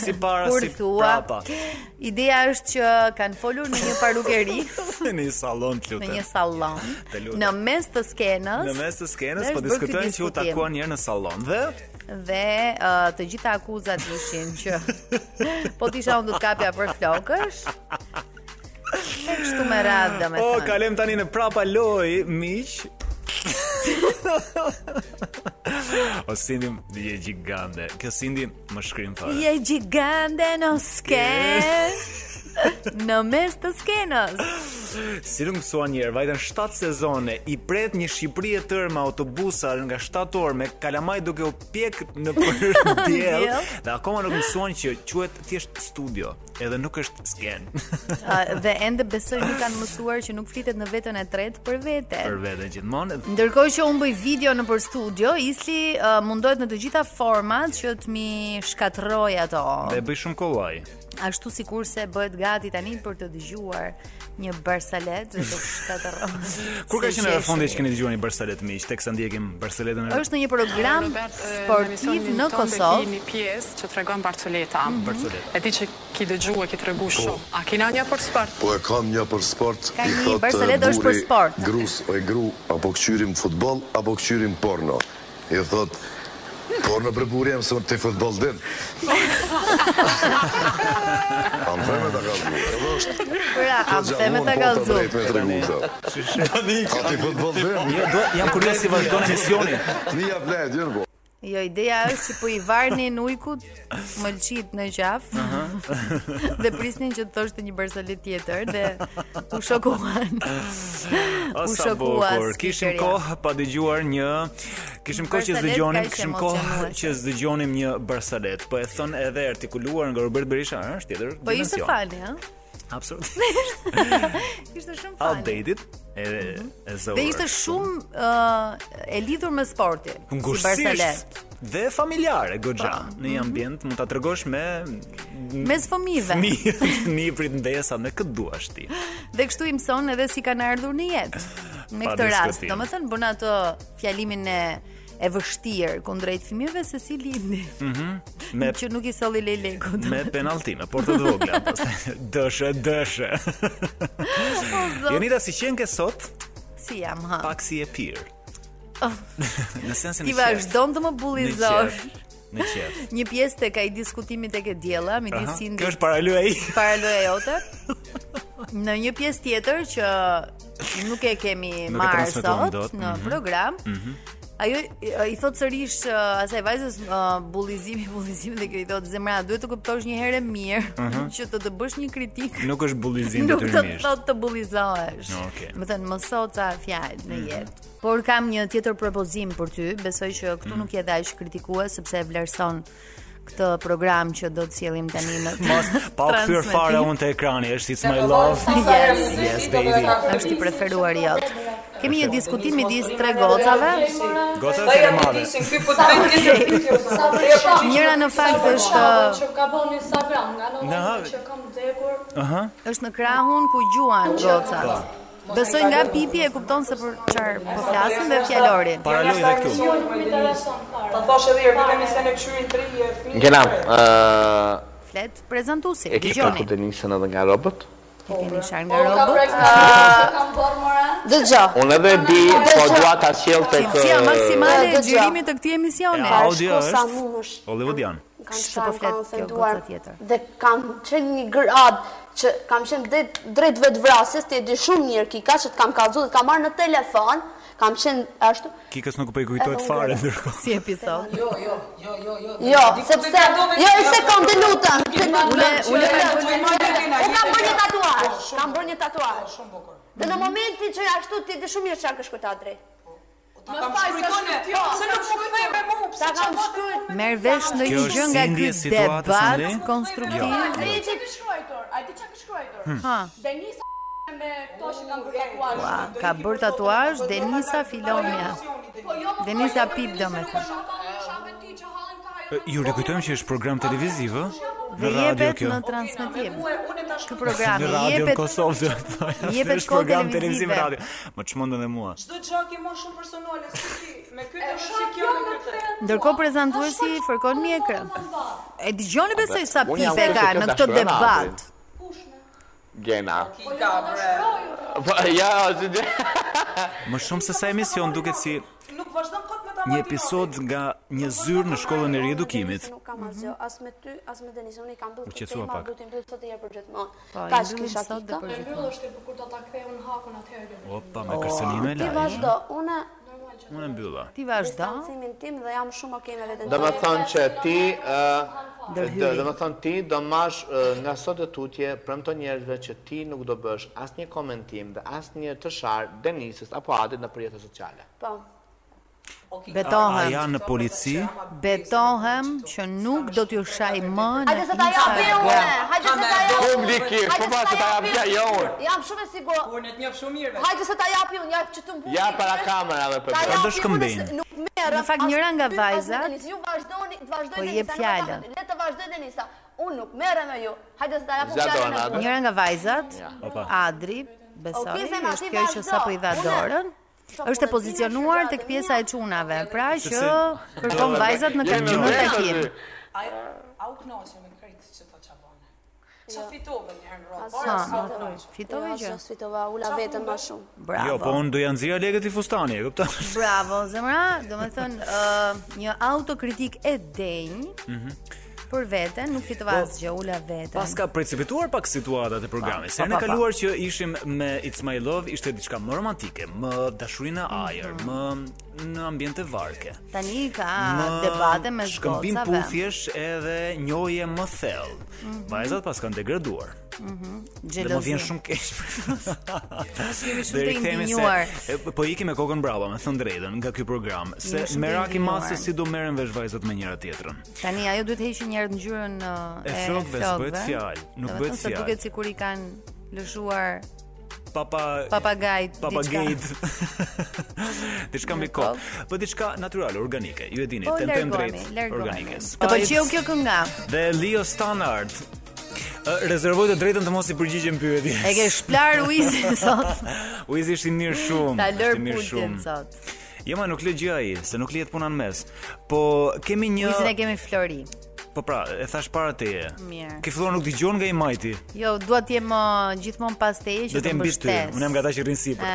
Speaker 8: Si para
Speaker 2: Kur
Speaker 8: si
Speaker 2: thua-
Speaker 8: prapa.
Speaker 2: ideja është që kanë folur në një parukeri,
Speaker 8: Në një sallon të
Speaker 2: në
Speaker 8: lutem.
Speaker 2: një sallon,
Speaker 8: Të lutem.
Speaker 2: në mes të skenës.
Speaker 8: Në mes të skenës
Speaker 2: dhe
Speaker 8: po
Speaker 2: është bërë ky
Speaker 8: diskutojnë që u
Speaker 2: diskutim.
Speaker 8: takuan një herë në sallon dhe
Speaker 2: dhe uh, të gjitha akuzat ishin që po të isha unë do të kapja për flokësh. E kështu me radhë,
Speaker 8: O,
Speaker 2: domethënë.
Speaker 8: kalem tani në prapa loj, miq. o Cindy, je gjigande. Kjo Cindy më shkrim fare.
Speaker 2: Je gjigande në skenë Në mes të skenës
Speaker 8: Si nuk mësuan njerë, vajtën 7 sezone, i pret një Shqipëri e tërë me autobusa nga 7 orë me kalamaj duke u pjek në për djel,
Speaker 2: Diell.
Speaker 8: dhe akoma nuk mësuan që quhet thjesht studio, edhe nuk është skenë.
Speaker 2: Ë, Dhe ende besoj nuk kanë mësuar që nuk flitet në vetën e tretë për vete
Speaker 8: për veten gjithmonë.
Speaker 2: Ndërkohë që unë bëj video në për studio, Isli uh, mundohet në të gjitha format që të mi shkatroj ato.
Speaker 8: Dhe bëj shumë kollaj.
Speaker 2: Ashtu si kurse bëhet gati tani për të dëgjuar një barsalet dhe të shkatërron.
Speaker 8: Kur ka
Speaker 2: si
Speaker 8: qenë era
Speaker 2: qeshi.
Speaker 8: e fundit që keni dëgjuar një Barcelet miq, teksa ndjekim Barceletën e
Speaker 2: Është në një program sportiv në
Speaker 18: Ki
Speaker 2: Kosovë.
Speaker 18: një pjesë që tregon Barcoleta.
Speaker 8: Barcoleta.
Speaker 18: E di që ki dëgjuar, ki tregu shumë. A kena një për sport?
Speaker 19: Po e kam një për sport
Speaker 2: Ka
Speaker 19: i
Speaker 2: një
Speaker 19: thotë,
Speaker 2: Barcelona është për
Speaker 19: buri,
Speaker 2: sport.
Speaker 19: Grus o e gru Apo këqyrim futbol Apo këqyrim porno I thot Porno për buri jam se unë të futbol din A më theme të ka zbu Edhe është
Speaker 2: Pra, a më theme
Speaker 8: po
Speaker 2: ta kallzu.
Speaker 19: me të regu këta A ti futbol din
Speaker 8: Jo, do- jam kurioz si vazhdon emisioni.
Speaker 19: Një jap lejt, jërë bo
Speaker 2: Jo, ideja është që po i varnin ujkut mëlçit në qaf dhe prisnin që të thoshte një barsalet tjetër dhe u shokuan.
Speaker 8: O,
Speaker 2: U
Speaker 8: sa
Speaker 2: shokua
Speaker 8: bukur. Kishim
Speaker 2: speakerja.
Speaker 8: kohë pa dëgjuar një kishim kohë që
Speaker 2: Barsalet
Speaker 8: dëgjonim,
Speaker 2: ka që
Speaker 8: kishim kohë
Speaker 2: emocionuese.
Speaker 8: që dëgjonim një Barsalet, po e thon edhe artikuluar nga Robert Berisha, ëh, është tjetër.
Speaker 2: Po ishte
Speaker 8: dimension.
Speaker 2: fali, ha?
Speaker 8: Absolutisht.
Speaker 2: Ishte shumë fali.
Speaker 8: Outdated. Edhe e zor.
Speaker 2: Dhe ishte shumë uh, e lidhur me sportin.
Speaker 8: Ngushësisht.
Speaker 2: Si Barcelet.
Speaker 8: dhe familjare goxha
Speaker 2: Po.
Speaker 8: në një ambient mund ta tregosh me
Speaker 2: Mes fëmijëve.
Speaker 8: fëmijë, fëmijë prit ndesa me këtë duash ti.
Speaker 2: Dhe kështu i mëson edhe si kanë ardhur në jetë. Me
Speaker 8: Pa
Speaker 2: këtë rast,
Speaker 8: diskutim.
Speaker 2: domethënë bën atë fjalimin e e vështirë kundrejt fëmijëve se si lindi.
Speaker 8: Mhm. Me
Speaker 2: Që nuk i solli leleku.
Speaker 8: me penallti, me portë të vogla, pastaj dëshë, dëshë.
Speaker 2: zot.
Speaker 8: Jonida si qen ke sot,
Speaker 2: Si jam ha?
Speaker 8: pak si e pirë.
Speaker 2: Oh.
Speaker 8: Në sensin
Speaker 2: Ti
Speaker 8: e qef.
Speaker 2: vazhdon të më
Speaker 8: Në
Speaker 2: bullizosh.
Speaker 8: qef. Në qef.
Speaker 2: Një pjesë tek ai diskutimi tek e diella midis
Speaker 8: Aha,
Speaker 2: Sindrit.
Speaker 8: Kjo është paraloja i.
Speaker 2: paraloja jote. Në një pjesë tjetër që nuk e kemi
Speaker 8: Nuk e
Speaker 2: marrë
Speaker 8: transmetuam
Speaker 2: sot
Speaker 8: dot,
Speaker 2: në
Speaker 8: mhm.
Speaker 2: program,
Speaker 8: Mhm.
Speaker 2: ajo i- i thot sërish uh, asaj vajzës uh, bullizimi, bullizimi dhe kjo i thot zemra, duhet të kuptosh një herë mirë
Speaker 8: Mhm.
Speaker 2: që të të bësh një kritik.
Speaker 8: Nuk është bullizim
Speaker 2: Nuk të
Speaker 8: detyrimisht.
Speaker 2: thot të bullizohesh.
Speaker 8: Okej.
Speaker 2: Më thënë, mëso ca fjalë
Speaker 8: Mhm.
Speaker 2: në jetë. Por kam një tjetër propozim për ty, besoj që këtu
Speaker 8: Mhm.
Speaker 2: nuk je dash kritikue sepse e vlerëson këtë program që do të sjellim tani në
Speaker 8: Mos pa u kthyer
Speaker 2: transmetim.
Speaker 8: fare unë te ekrani, është It's
Speaker 20: po
Speaker 8: My Love.
Speaker 2: Yes,
Speaker 8: yes baby.
Speaker 2: Është i preferuar jot. Kemi një diskutim midis tre gocave.
Speaker 8: Goca
Speaker 20: po
Speaker 8: është e madhe.
Speaker 2: Njëra në fakt është
Speaker 21: që ka bën në Instagram nga në
Speaker 8: Në ha-
Speaker 21: që kam vdekur.
Speaker 8: Aha.
Speaker 2: është në krahun ku gjuan gocat. Besoj nga Pipi e kupton se për çfarë po flasim dhe fjalorin.
Speaker 8: Paraloj dhe këtu.
Speaker 21: Jo, nuk më intereson fare.
Speaker 22: Ta thash edhe herë, vetëm se në këshyrin 3 e fëmijë.
Speaker 23: Gjena,
Speaker 2: Flet prezantuesi,
Speaker 23: e ke
Speaker 2: dëgjoni.
Speaker 23: kërku Denisën edhe nga robët?
Speaker 2: E kemi sharë
Speaker 21: Po
Speaker 2: nga
Speaker 21: ka
Speaker 2: robot.
Speaker 21: prek që kam bërë mëra.
Speaker 2: Dëgjoj.
Speaker 23: Unë edhe e di, po dua ta sjell tek
Speaker 2: Sia
Speaker 23: ë,
Speaker 2: maksimale e
Speaker 20: Dëgjoj.
Speaker 2: xhirimit të këtij emisioni.
Speaker 8: Ja, audio
Speaker 20: Bashko sa mu është.
Speaker 8: është. Hollywoodian.
Speaker 20: Kam
Speaker 2: Kështu
Speaker 20: qenë,
Speaker 2: po flet
Speaker 20: kam
Speaker 2: kjo
Speaker 20: ofenduar
Speaker 2: goca tjetër.
Speaker 20: Dhe kam qenë një grad që kam qenë drejt, drejt vetë vrasjes, ti e di shumë mirë kika që të kam kallëzu, të kam marrë në telefon, kam qenë ashtu.
Speaker 8: Kikës nuk po i kujtohet
Speaker 20: Edhe
Speaker 8: fare
Speaker 20: unë.
Speaker 8: ndërkohë.
Speaker 2: Si episod.
Speaker 20: Jo, jo, jo, jo, jo. Jo, sepse jo, i sekond të lutem, të lutem.
Speaker 2: Ule, ule,
Speaker 20: ule. Unë kam bërë një tatuazh, kam bërë një tatuazh. Shumë bukur. Dhe në momentin që ashtu ti e di shumë mirë çka ke shkruar drejt.
Speaker 21: Më fal, shkruajtone,
Speaker 15: jo.
Speaker 21: se nuk po kthej me mua, pse
Speaker 20: Ta
Speaker 21: çfarë
Speaker 20: kam shkruar
Speaker 2: Merr vesh në
Speaker 8: Kjo
Speaker 2: një
Speaker 8: është
Speaker 2: gjë nga ky
Speaker 8: sindje e situatës,
Speaker 2: debat
Speaker 8: Andi?
Speaker 2: konstruktiv.
Speaker 8: Jo.
Speaker 21: A di çka ke shkruajtur? A di çka ke shkruajtur?
Speaker 2: Hmm. Ha.
Speaker 21: Denisa me këto që kam bërë tatuazh.
Speaker 2: Ua, ka bërë tatuazh Denisa Filonia.
Speaker 15: Po jo,
Speaker 2: Denisa Pip do me thënë.
Speaker 8: Ë, Ju rikujtojmë që është program televiziv, ë?
Speaker 2: Dhe
Speaker 8: Në radio
Speaker 2: jepet
Speaker 8: kjo.
Speaker 2: në transmetim. Ky program
Speaker 8: Në radio në
Speaker 2: jepet
Speaker 8: Kosovë. do të thoja,
Speaker 2: jepet
Speaker 8: është
Speaker 2: kohë
Speaker 8: program
Speaker 2: televizive.
Speaker 8: televiziv radio. Më çmendën edhe mua.
Speaker 22: Çdo gjë ke më shumë personale si ti, me këtë
Speaker 21: E
Speaker 22: dhe si
Speaker 21: shoh
Speaker 22: kjo
Speaker 21: kjo
Speaker 22: me
Speaker 21: në
Speaker 22: këtë.
Speaker 2: Ndërkohë prezantuesi fërkon mjekra. E dëgjoni besoj sa
Speaker 23: Unë jam
Speaker 2: pipe
Speaker 23: se
Speaker 2: ka në
Speaker 23: kjo ta
Speaker 2: këtë
Speaker 23: shkruan
Speaker 2: debat. Po,
Speaker 23: Adri. Gjena.
Speaker 22: Ka bre.
Speaker 23: Po ja, si di.
Speaker 8: Më shumë se sa emision duket si
Speaker 20: Nuk vazhdon kot me ta.
Speaker 8: një episod nga një zyrë në shkollën e riedukimit.
Speaker 20: Nuk kam asgjë, as me ty, as me Denison, i kam
Speaker 8: U
Speaker 20: mbyllur
Speaker 8: qetsua pak.
Speaker 20: do të mbyll sot e jep për gjithmonë.
Speaker 8: Po, i
Speaker 20: Kaq
Speaker 8: mbyllim
Speaker 20: kisha
Speaker 8: sot dhe
Speaker 20: këtë.
Speaker 8: për gjithmonë.
Speaker 21: Mbyll është e bukur do ta kthejun hakun atëherë.
Speaker 8: Opa, me kërcënime
Speaker 20: Ti
Speaker 8: live.
Speaker 20: vazhdo, unë
Speaker 8: Unë e mbylla.
Speaker 2: Ti vazhdo.
Speaker 20: Distancimin tim dhe jam shumë okay me veten.
Speaker 23: Do më thonë që ti ë,
Speaker 20: Ndërhyri.
Speaker 23: do do më thonë ti do mash ë, nga sot e tutje premton njerëzve që ti nuk do bësh asnjë komentim dhe asnjë të sharë Denisës apo Adit në rrjetet sociale.
Speaker 20: Po.
Speaker 8: A
Speaker 2: Betohem,
Speaker 8: janë në polici?
Speaker 2: betohem që nuk do t'ju shaj më në
Speaker 20: Hajde se ta jap unë.
Speaker 2: Instagram.
Speaker 20: Hajde se ta jap.
Speaker 23: Publiki, po pa se ta jap ja jo unë.
Speaker 20: Jam shumë e sigurt. Unë të njeh shumë mirë. Hajde se ta japi unë, ja që të mbush.
Speaker 23: Ja para kamerave për
Speaker 20: Ta
Speaker 23: të.
Speaker 20: japi unë, se Nuk merr.
Speaker 2: Në fakt, njëra nga vajzat-
Speaker 20: Ju vazhdoni, të vazhdoj
Speaker 2: Po,
Speaker 20: Denisa.
Speaker 2: jep
Speaker 20: nuk ta-
Speaker 2: fjallën.
Speaker 20: Le të vazhdoj Denisa. Unë nuk merrem me ju. Hajde se ta jap unë
Speaker 23: Zjadon,
Speaker 20: fjalën. e
Speaker 23: Adri.
Speaker 20: tua.
Speaker 2: Njëra nga vajzat,
Speaker 23: Opa.
Speaker 2: Adri, besoj,
Speaker 20: Okej, se ma
Speaker 2: është
Speaker 20: ti
Speaker 2: kjo që
Speaker 20: vazhdo. po
Speaker 2: sapo i dha
Speaker 20: Unë-
Speaker 2: dorën, është e pozicionuar tek pjesa e çunave, pra që kërkon vajzat në
Speaker 23: Jemi
Speaker 2: termin në
Speaker 23: vetë
Speaker 2: takim.
Speaker 23: aty.
Speaker 22: Ai au kënaqje me kritikë që ta çabone. Ç'a fitove një herë në rrobë?
Speaker 2: Ha,
Speaker 20: Asë
Speaker 2: ma
Speaker 20: fitova.
Speaker 2: thuj, fitove
Speaker 20: Jo,
Speaker 2: po- gjë.
Speaker 20: asë fitova, ula vetëm më shumë.
Speaker 8: Jo, po unë do janë nxjerr legët i fustani, e kupton?
Speaker 2: Bravo, zemra, do me thënë, ë, një autokritik e denjë
Speaker 8: Mhm.
Speaker 2: për veten, nuk fitova
Speaker 8: Po,
Speaker 2: asgjë, ula veten.
Speaker 8: Pas ka precipituar pak situatat e programit.
Speaker 2: Pa,
Speaker 8: Se
Speaker 2: pa,
Speaker 8: ne
Speaker 2: pa, pa.
Speaker 8: kaluar që ishim me It's My Love, ishte diçka më romantike, më dashurinë në ajër, më në ambiente varke.
Speaker 2: Tani ka
Speaker 8: Më
Speaker 2: debate me
Speaker 8: Shkëmbim
Speaker 2: zgocave.
Speaker 8: puthjesh edhe njohje më thellë.
Speaker 2: Mhm.
Speaker 8: Vajzat pas kanë degraduar.
Speaker 2: Mhm.
Speaker 8: Dhe më vjen shumë keq.
Speaker 2: Jemi shumë
Speaker 8: Dhe
Speaker 2: të
Speaker 8: rikthehemi se-
Speaker 2: indignuar.
Speaker 8: e, Po ikim me kokën brava, me thënë drejtën, nga ky program, se
Speaker 2: Jemi shumë të
Speaker 8: merak i madh se
Speaker 2: indignuar.
Speaker 8: si do merren vesh vajzat me njëra tjetrën.
Speaker 2: Tani ajo duhet heqë një herë ngjyrën ë,
Speaker 8: E flokëve, s'bëhet fjalë, nuk
Speaker 2: Do me
Speaker 8: bëhet
Speaker 2: thënë se
Speaker 8: fjalë.
Speaker 2: Duket sikur i kanë lëshuar
Speaker 8: papa
Speaker 2: Papagaj.
Speaker 8: papagejt, diçka mbi kokë, po diçka natyrale, organike. Ju e dini,
Speaker 2: Po,
Speaker 8: tentojmë
Speaker 2: largohemi,
Speaker 8: drejt
Speaker 2: largohemi.
Speaker 8: organikes.
Speaker 2: Të pëlqeu
Speaker 8: Spice
Speaker 2: kjo kënga?
Speaker 8: Dhe Leo Stannard. Ë, Rezervoj të drejtën të mos i përgjigjem pyetjes.
Speaker 2: E ke shplar Uizin sot.
Speaker 8: Uizi është i mirë shumë.
Speaker 2: Ta lër
Speaker 8: është i mirë
Speaker 2: pultin
Speaker 8: shumë.
Speaker 2: sot.
Speaker 8: Jo, ma nuk lë gjë ai, se nuk lihet puna në mes. Po kemi një
Speaker 2: Uizin e kemi Flori.
Speaker 8: Po pra, e thash para teje.
Speaker 2: Mirë.
Speaker 8: Ke filluar nuk dëgjon nga i majti.
Speaker 2: Jo, dua të jem uh, gjithmonë pas teje që
Speaker 8: Do të
Speaker 2: të
Speaker 8: jem mbi ty.
Speaker 2: mbështes. Ah,
Speaker 8: Unë jam nga ata që rrin sipër.
Speaker 2: Ë.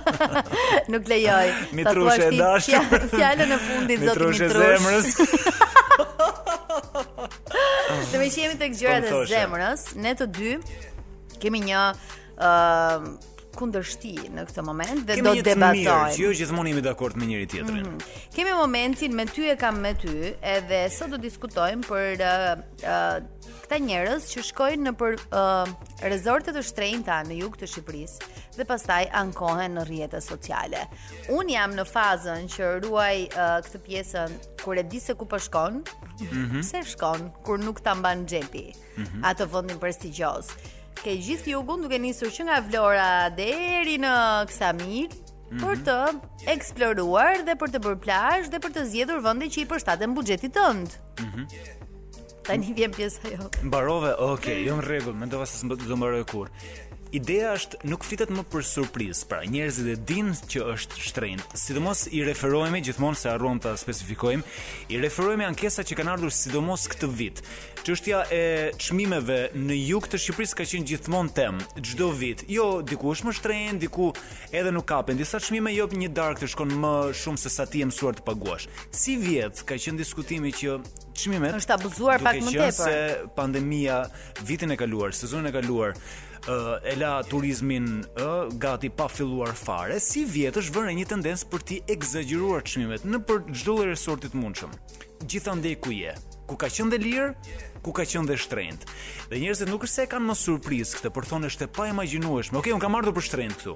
Speaker 2: Nuk lejoj. Ta thuash
Speaker 8: Mitrushe e
Speaker 2: ti
Speaker 8: dashur.
Speaker 2: fja- Fjalën e fundit zoti
Speaker 8: Mitrushe
Speaker 2: Mitrush.
Speaker 8: e zemrës.
Speaker 2: Dhe me që jemi tek gjërat
Speaker 8: Po më
Speaker 2: e
Speaker 8: thoshe.
Speaker 2: zemrës, ne të dy kemi një ë kundërshti në këtë moment dhe
Speaker 8: Kemi
Speaker 2: do
Speaker 8: një
Speaker 2: të
Speaker 8: të mirë, që
Speaker 2: debatojmë.
Speaker 8: jo gjithmonë jemi dakord me njëri tjetrin.
Speaker 2: Kemi momentin me ty e kam me ty, edhe sot do diskutojmë për ë ë, këta njerëz që shkojnë në për ë rezorte të shtrenjta në jug të Shqipërisë dhe pastaj ankohen në rrjetet sociale. Un jam në fazën që ruaj ë, këtë pjesën kur e di se ku po shkon,
Speaker 3: Mhm.
Speaker 2: pse shkon kur nuk ta mban xhepi
Speaker 3: Mhm.
Speaker 2: atë vendin prestigjioz. Ke gjithë jugun duke nisur që nga Vlora deri në Ksamir për
Speaker 3: Mhm.
Speaker 2: të eksploruar dhe për të bërë plazh dhe për të zgjedhur vendin që i përshtaten buxhetit tënd.
Speaker 8: Mhm.
Speaker 2: Tani vjen pjesa jote.
Speaker 8: Mbarove, okay, jo në rregull, mendova se s'mb- do mbaroj kur. Ideja është nuk flitet më për surprizë, pra njerëzit e dinë që është shtrenjtë. Sidomos i referohemi gjithmonë se harruam ta specifikojmë, i referohemi ankesa që kanë ardhur sidomos këtë vit. Çështja e çmimeve në jug të Shqipërisë ka qenë gjithmonë temë çdo vit. Jo diku është më shtrenjtë, diku edhe nuk kapen. Disa çmime jop një darkë të shkon më shumë se sa ti je mësuar të paguash. Si vjet ka qenë diskutimi që çmimet
Speaker 2: Është abuzuar pak më
Speaker 8: Duke qenë
Speaker 2: tepër.
Speaker 8: se pandemia vitin e kaluar, sezonin e kaluar, ë e la turizmin ë gati pa filluar fare, si vjet është vënë një tendencë për ti egzagjeruar çmimet në për çdo lloj resorti të mundshëm. Gjithandej ku je, ku ka qenë dhe lirë, ku ka qenë dhe shtrenjtë. Dhe njerëzit nuk është se e kanë më surprizë këtë, por thonë është e pa imagjinueshme. Okej, unë kam ardhur për shtrenjtë këtu.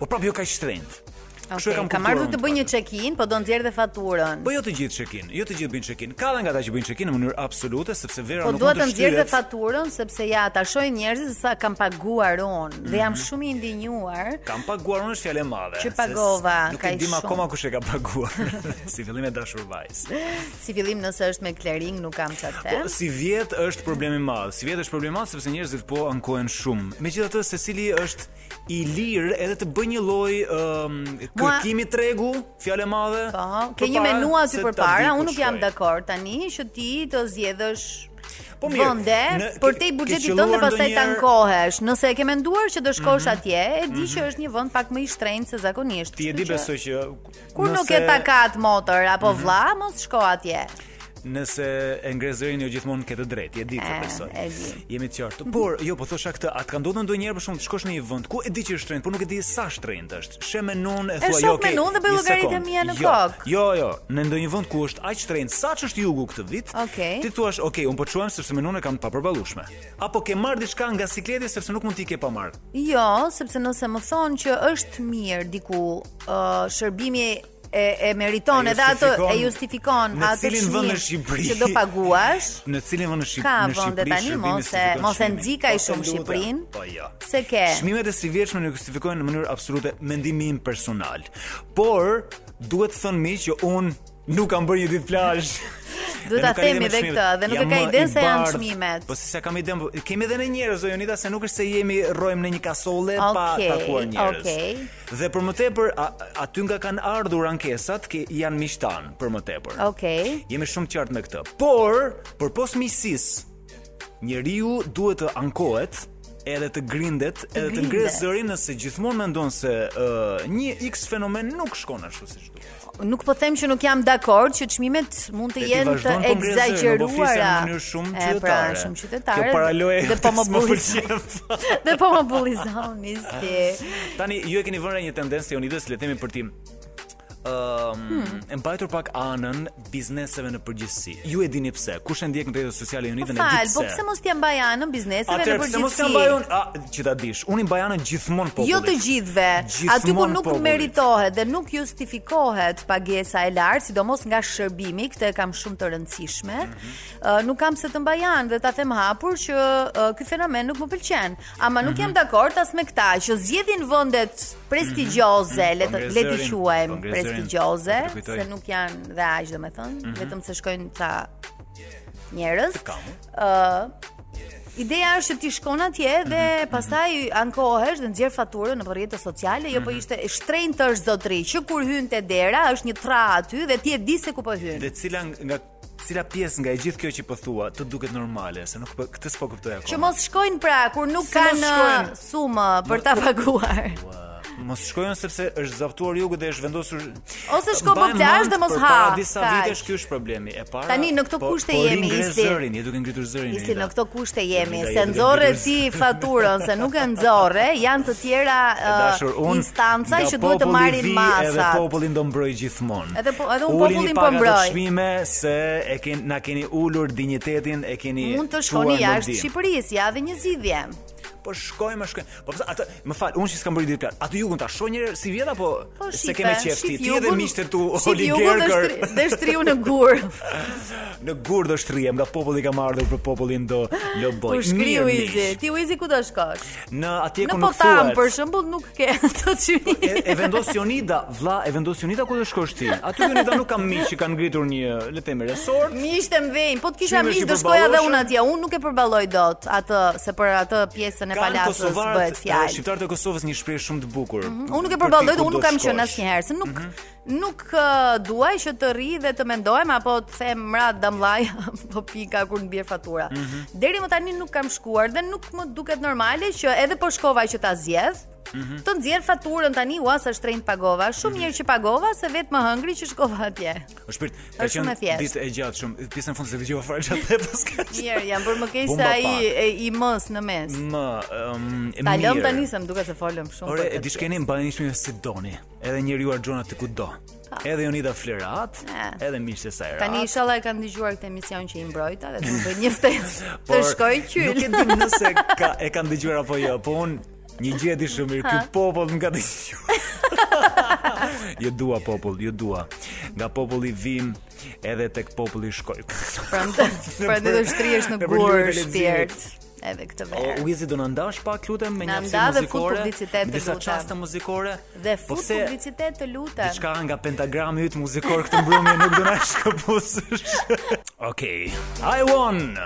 Speaker 8: Po prapë jo ka shtrenjtë. Kështu e
Speaker 2: Okay,
Speaker 8: kam
Speaker 2: kam
Speaker 8: kuptuar
Speaker 2: ardhur
Speaker 8: unë
Speaker 2: të bëj një check-in, po do nxjerr dhe faturën.
Speaker 8: Po jo të gjithë check-in, jo të gjithë bëjnë check-in. Ka edhe nga ata që bëjnë check-in në mënyrë absolute sepse vera
Speaker 2: Po
Speaker 8: nuk
Speaker 2: dua
Speaker 8: mund
Speaker 2: të
Speaker 8: të
Speaker 2: nxjerr dhe
Speaker 8: shtyhet.
Speaker 2: faturën sepse ja ta shohin njerëzit se sa kam paguar unë dhe jam
Speaker 8: Mhm.
Speaker 2: shumë i ndinjuar.
Speaker 8: Kam paguar unë është fjalë e madhe.
Speaker 2: Që
Speaker 8: se s-
Speaker 2: pagova,
Speaker 8: Nuk
Speaker 2: kaq
Speaker 8: e dim
Speaker 2: shumë.
Speaker 8: akoma kush e ka paguar. si fillim e dashur vajz.
Speaker 2: Si fillim nëse është me clearing nuk kam çfarë të
Speaker 8: Po si vjet është problem i madh. Si vjet është problem i madh sepse njerëzit po ankohen shumë. Megjithatë secili është i lirë edhe të bëjë një lloj um, kërkimi tregu, fjalë e madhe.
Speaker 2: Po, Ke një menu aty përpara, unë nuk jam dakord tani që ti të zgjedhësh
Speaker 8: Po mirë,
Speaker 2: vende
Speaker 8: në-
Speaker 2: për
Speaker 8: ke-
Speaker 2: te i
Speaker 8: ke
Speaker 2: buxhetit
Speaker 8: qelluar
Speaker 2: tënd dhe pastaj
Speaker 8: ndonjëherë-
Speaker 2: tankohesh. Nëse e ke menduar që do shkosh
Speaker 8: Mhm.
Speaker 2: atje, e di që
Speaker 8: Mhm.
Speaker 2: është një vend pak më i shtrenjtë se zakonisht.
Speaker 8: Ti e
Speaker 2: kështu
Speaker 8: di
Speaker 2: që
Speaker 8: besoj që
Speaker 2: Kur nuk e
Speaker 8: nëse-
Speaker 2: takat motor apo
Speaker 8: Mhm.
Speaker 2: vlla, mos shko atje.
Speaker 8: Nëse e ngres zërin jo gjithmonë ke të drejtë, je ditë
Speaker 2: E,
Speaker 8: këtë besoj.
Speaker 2: e di.
Speaker 8: Jemi të qartë. Por jo, po thosha këtë, a të ka ndodhur ndonjëherë për shkak të shkosh në një vend ku e di që është shtrenjtë, por nuk e di sa shtrenjtë është. She menon e
Speaker 2: E
Speaker 8: thua
Speaker 2: shoh
Speaker 8: jo, okay.
Speaker 2: menun dhe bëj
Speaker 8: një
Speaker 2: llogaritën
Speaker 8: sekond."
Speaker 2: mia në
Speaker 8: jo,
Speaker 2: kokë.
Speaker 8: Jo, jo, në ndonjë vend ku është aq shtrenjtë, saç është jugu këtë vit,
Speaker 2: Okej.
Speaker 8: ti thua, "Ok, un po çuam sepse menun e kam të papërballueshme." Apo ke marr diçka nga sikleti sepse nuk mund t'i ke pa marr.
Speaker 2: Jo, sepse nëse më thonë që është mirë diku ë, shërbimi e, e meriton
Speaker 8: E
Speaker 2: edhe atë
Speaker 8: justifikon
Speaker 2: e justifikon
Speaker 8: në
Speaker 2: atë
Speaker 8: cilin vend në
Speaker 2: çmim
Speaker 8: Shqipëri.
Speaker 2: që do paguash
Speaker 8: Në cilin vend në Shqip-
Speaker 2: Ka
Speaker 8: në Shqipëri?
Speaker 2: vende tani,
Speaker 8: shërbimi
Speaker 2: mos e-
Speaker 8: justifikon
Speaker 2: mos e
Speaker 8: çmimin.
Speaker 2: nxikaj
Speaker 8: Ose
Speaker 2: shumë
Speaker 8: lutem.
Speaker 2: Shqipërinë.
Speaker 8: Po jo.
Speaker 2: se ke.
Speaker 8: Çmimet e sivjetshme nuk justifikojnë në mënyrë absolute mendimin personal. Por duhet të thënë mi që un nuk kam bërë një ditë plazh.
Speaker 2: Duhet
Speaker 8: Dhe
Speaker 2: ta
Speaker 8: nuk ka lidhje
Speaker 2: themi
Speaker 8: me
Speaker 2: dhe
Speaker 8: çmimet.
Speaker 2: këtë, dhe nuk e
Speaker 8: Jam
Speaker 2: ka
Speaker 8: më
Speaker 2: iden
Speaker 8: i
Speaker 2: se janë
Speaker 8: bardh.
Speaker 2: çmimet.
Speaker 8: Po si sa kam iden, po- kemi edhe në njerëz Jonida se nuk është se jemi rrojmë në një kasolle pa
Speaker 2: Okej,
Speaker 8: takuar njerëz.
Speaker 2: okej.
Speaker 8: Dhe për më tepër a- aty nga kanë ardhur ankesat që janë miqtan për më tepër.
Speaker 2: Okej.
Speaker 8: Jemi shumë qartë me këtë. Por, përpos miqësisë, njeriu duhet të ankohet edhe të grindet,
Speaker 2: Të
Speaker 8: edhe të
Speaker 2: grindet.
Speaker 8: ngres zërin nëse gjithmonë mendon se ë, një X fenomen nuk shkon ashtu siç duhet.
Speaker 2: Nuk po them që nuk jam dakord që çmimet mund të
Speaker 8: Dhe ti
Speaker 2: jenë të
Speaker 8: vazhdon po ngres zërin, po flisem në
Speaker 2: egzagjeruara.
Speaker 8: mënyrë shumë
Speaker 2: E, pra,
Speaker 8: qytetare.
Speaker 2: shumë qytetare.
Speaker 8: Kjo paraloje
Speaker 2: Dhe po më
Speaker 8: s'më
Speaker 2: bullizon. Dhe po më bullizon, misti.
Speaker 8: Tani ju e keni vënë re një tendencë Leonidas le të themi për tim ëm
Speaker 2: Hmm.
Speaker 8: e mbajtur pak anën bizneseve në përgjithësi. Ju e dini pse. Kush e ndjek në rrjetet sociale joni dhe ne
Speaker 2: Fal,
Speaker 8: di
Speaker 2: po pse
Speaker 8: pse.
Speaker 2: mos t'ia mbaj anën bizneseve në
Speaker 8: Atëherë pse mos jam bajon?
Speaker 2: përgjithësi?
Speaker 8: A, që ta dish. Unë i mbaj anën gjithmonë popullit.
Speaker 2: Jo të gjithve. Aty ku
Speaker 8: Gjithmonë
Speaker 2: nuk
Speaker 8: popullit.
Speaker 2: meritohet dhe nuk justifikohet pagesa e lartë, sidomos nga shërbimi, këtë e kam shumë të rëndësishme.
Speaker 8: Mhm.
Speaker 2: Ë, nuk kam se të mbaj anë dhe ta them hapur që ë, ky fenomen nuk më pëlqen. Ama nuk
Speaker 8: Mhm.
Speaker 2: jam dakord as me këtë që zgjedhin vendet prestigjioze,
Speaker 8: Mhm.
Speaker 2: le të le të
Speaker 8: Kongreserin,
Speaker 2: quajmë
Speaker 8: kongreserin,
Speaker 2: prestigjioze,
Speaker 8: po të kujtoj.
Speaker 2: se nuk janë dhe aq domethënë,
Speaker 8: Mhm.
Speaker 2: vetëm se shkojnë ca njerëz.
Speaker 8: Të kamu.
Speaker 2: Ë Ideja është që ti shkon atje
Speaker 8: Mhm.
Speaker 2: dhe pastaj ankohesh dhe nxjerr faturën në rrjetet sociale, jo
Speaker 8: Mhm.
Speaker 2: po ishte shtrenjtë të është zotëri, që kur hyn te dera është një tra aty dhe ti e di se ku po hyn.
Speaker 8: Dhe cila nga cila pjesë nga e gjithë kjo që po thua të duket normale, se nuk po këtë s'po kuptoj akoma.
Speaker 2: Që mos shkojnë pra kur nuk
Speaker 8: Si mos
Speaker 2: kanë
Speaker 8: shkojnë?
Speaker 2: sumë për ta paguar.
Speaker 8: Mos shkojnë sepse është zaptuar jugu dhe është vendosur
Speaker 2: Ose shko po
Speaker 8: Mbaj
Speaker 2: plazh
Speaker 8: mend,
Speaker 2: dhe mos
Speaker 8: për
Speaker 2: ha.
Speaker 8: Para disa
Speaker 2: kaq.
Speaker 8: vitesh ky është problemi. E para
Speaker 2: Tani në këto kushte jemi,
Speaker 8: Po ringre
Speaker 2: isti.
Speaker 8: zërin, je duke ngritur zërin.
Speaker 2: Isti
Speaker 8: Elida.
Speaker 2: në këto kushte jemi,
Speaker 8: Elida,
Speaker 2: se
Speaker 8: jemi
Speaker 2: nxorre
Speaker 8: duke
Speaker 2: ti faturën, se nuk e nxorre, janë të tjera
Speaker 8: E
Speaker 2: ë,
Speaker 8: dashur, unë
Speaker 2: instanca
Speaker 8: nga
Speaker 2: që duhet të
Speaker 8: populli
Speaker 2: marrin
Speaker 8: vi Edhe
Speaker 2: masat.
Speaker 8: popullin do mbroj gjithmonë.
Speaker 2: Edhe po- edhe unë
Speaker 8: Ulini
Speaker 2: popullin
Speaker 8: pak
Speaker 2: po
Speaker 8: ato
Speaker 2: mbroj.
Speaker 8: Çmime se e keni na keni ulur dignitetin, e keni
Speaker 2: Mund të
Speaker 8: çuar
Speaker 2: shkoni
Speaker 8: në
Speaker 2: jashtë
Speaker 8: dim.
Speaker 2: Shqipërisë, ja dhe një zgjidhje.
Speaker 8: Po shkojmë, shkojmë. Po pse atë, më fal, unë që s'kam bërë ditë plan. Atë jugun ta shoh një herë si vjet apo
Speaker 2: Po
Speaker 8: se
Speaker 2: shife,
Speaker 8: kemë qejf ti
Speaker 2: shif
Speaker 8: ti dhe
Speaker 2: jugun,
Speaker 8: miqtë tu
Speaker 2: shif jugun dhe
Speaker 8: oligarkër.
Speaker 2: shtri- Dhe shtriu në gur.
Speaker 8: Në gur do shtrihem, nga populli kam ardhur për popullin do loboj.
Speaker 2: U Po shkriu
Speaker 8: Po, Mirë, miq.
Speaker 2: Izi. Ti u Izi ku do shkosh?
Speaker 8: Në atje
Speaker 2: Në
Speaker 8: ku nuk
Speaker 2: Potam
Speaker 8: thuhet.
Speaker 2: për shembull nuk ke ato çmime.
Speaker 8: E vendos Jonida, vlla, e vendos Jonida ku do shkosh ti? Aty Jonida nuk kam miq që kanë ngritur një, le të themi, resort.
Speaker 2: Miqtë mdhënë, po të kisha
Speaker 8: Çmime që
Speaker 2: miq do shkoja edhe unë
Speaker 8: përballoshen.
Speaker 2: atje. Unë nuk e përballoj dot atë se për atë pjesën e
Speaker 8: Kanë
Speaker 2: palasës bëhet
Speaker 8: kosovarët, e,
Speaker 2: fjalë. Mhm.
Speaker 8: shqiptarët e Kosovës një shprehje shumë të bukur.
Speaker 2: Unë nuk e
Speaker 8: për
Speaker 2: përballoj
Speaker 8: ti
Speaker 2: dhe
Speaker 8: ku
Speaker 2: unë nuk
Speaker 8: do
Speaker 2: kam qenë
Speaker 8: shkosh. Mhm.
Speaker 2: asnjëherë, se nuk nuk uh, duaj që të rri dhe të mendohem apo të them mrat damllaj po pika kur mbjer fatura.
Speaker 3: Mhm.
Speaker 2: Deri më tani nuk kam shkuar dhe nuk më duket normale që edhe po shkova që ta zgjedh,
Speaker 8: Mhm.
Speaker 2: të nxjerr faturën tani ua sa shtrenjt pagova, shumë mirë që pagova se vetë më hëngri që shkova atje.
Speaker 8: O shpirt, ka
Speaker 2: Është shumë
Speaker 8: qenë
Speaker 2: e thjeshtë.
Speaker 8: ditë e gjatë shumë. Pjesën e fundit se dëgjova fare gjatë dhe paska.
Speaker 2: Mirë, jam bërë më keq se
Speaker 8: Bumba
Speaker 2: ai
Speaker 8: pak.
Speaker 2: e- i mës në mes.
Speaker 8: Më, um,
Speaker 2: Ta lëm
Speaker 8: mirë.
Speaker 2: tani se më duket se folëm shumë.
Speaker 8: Ore,
Speaker 2: për
Speaker 8: e
Speaker 2: këtë
Speaker 8: dishkeni mbani shumë si doni. Edhe njeriu Arxhona te kudo. Edhe Jonida Flerat, edhe miqtë e saj.
Speaker 2: Ah. Tani
Speaker 8: Rat.
Speaker 2: inshallah e kanë dëgjuar këtë emision që i mbrojta dhe do të bëj një ftesë. Të
Speaker 8: Por,
Speaker 2: shkoj qyl.
Speaker 8: Nuk e di nëse ka e kanë dëgjuar apo jo, po un një gjë e di shumë mirë,
Speaker 2: Ha.
Speaker 8: ky popull më ka dëgjuar. ju dua popull, ju dua. Nga populli vim edhe tek populli shkoj.
Speaker 2: Prandaj, prandaj do pra, shtrihesh në
Speaker 8: Në për
Speaker 2: gur
Speaker 8: lyrën e
Speaker 2: shpirt edhe këtë
Speaker 8: O,
Speaker 2: verë.
Speaker 8: Wizi do na ndash pak lutem me
Speaker 2: Na
Speaker 8: një
Speaker 2: nda dhe
Speaker 8: hapësirë
Speaker 2: fut
Speaker 8: muzikore.
Speaker 2: publicitet, të
Speaker 8: disa
Speaker 2: lutem.
Speaker 8: çaste muzikore.
Speaker 2: Dhe fut
Speaker 8: po pse
Speaker 2: publicitet të lutem.
Speaker 8: diçka nga pentagrami yt muzikor këtë mbrëmje nuk do na shkëpusësh. Okej. I won.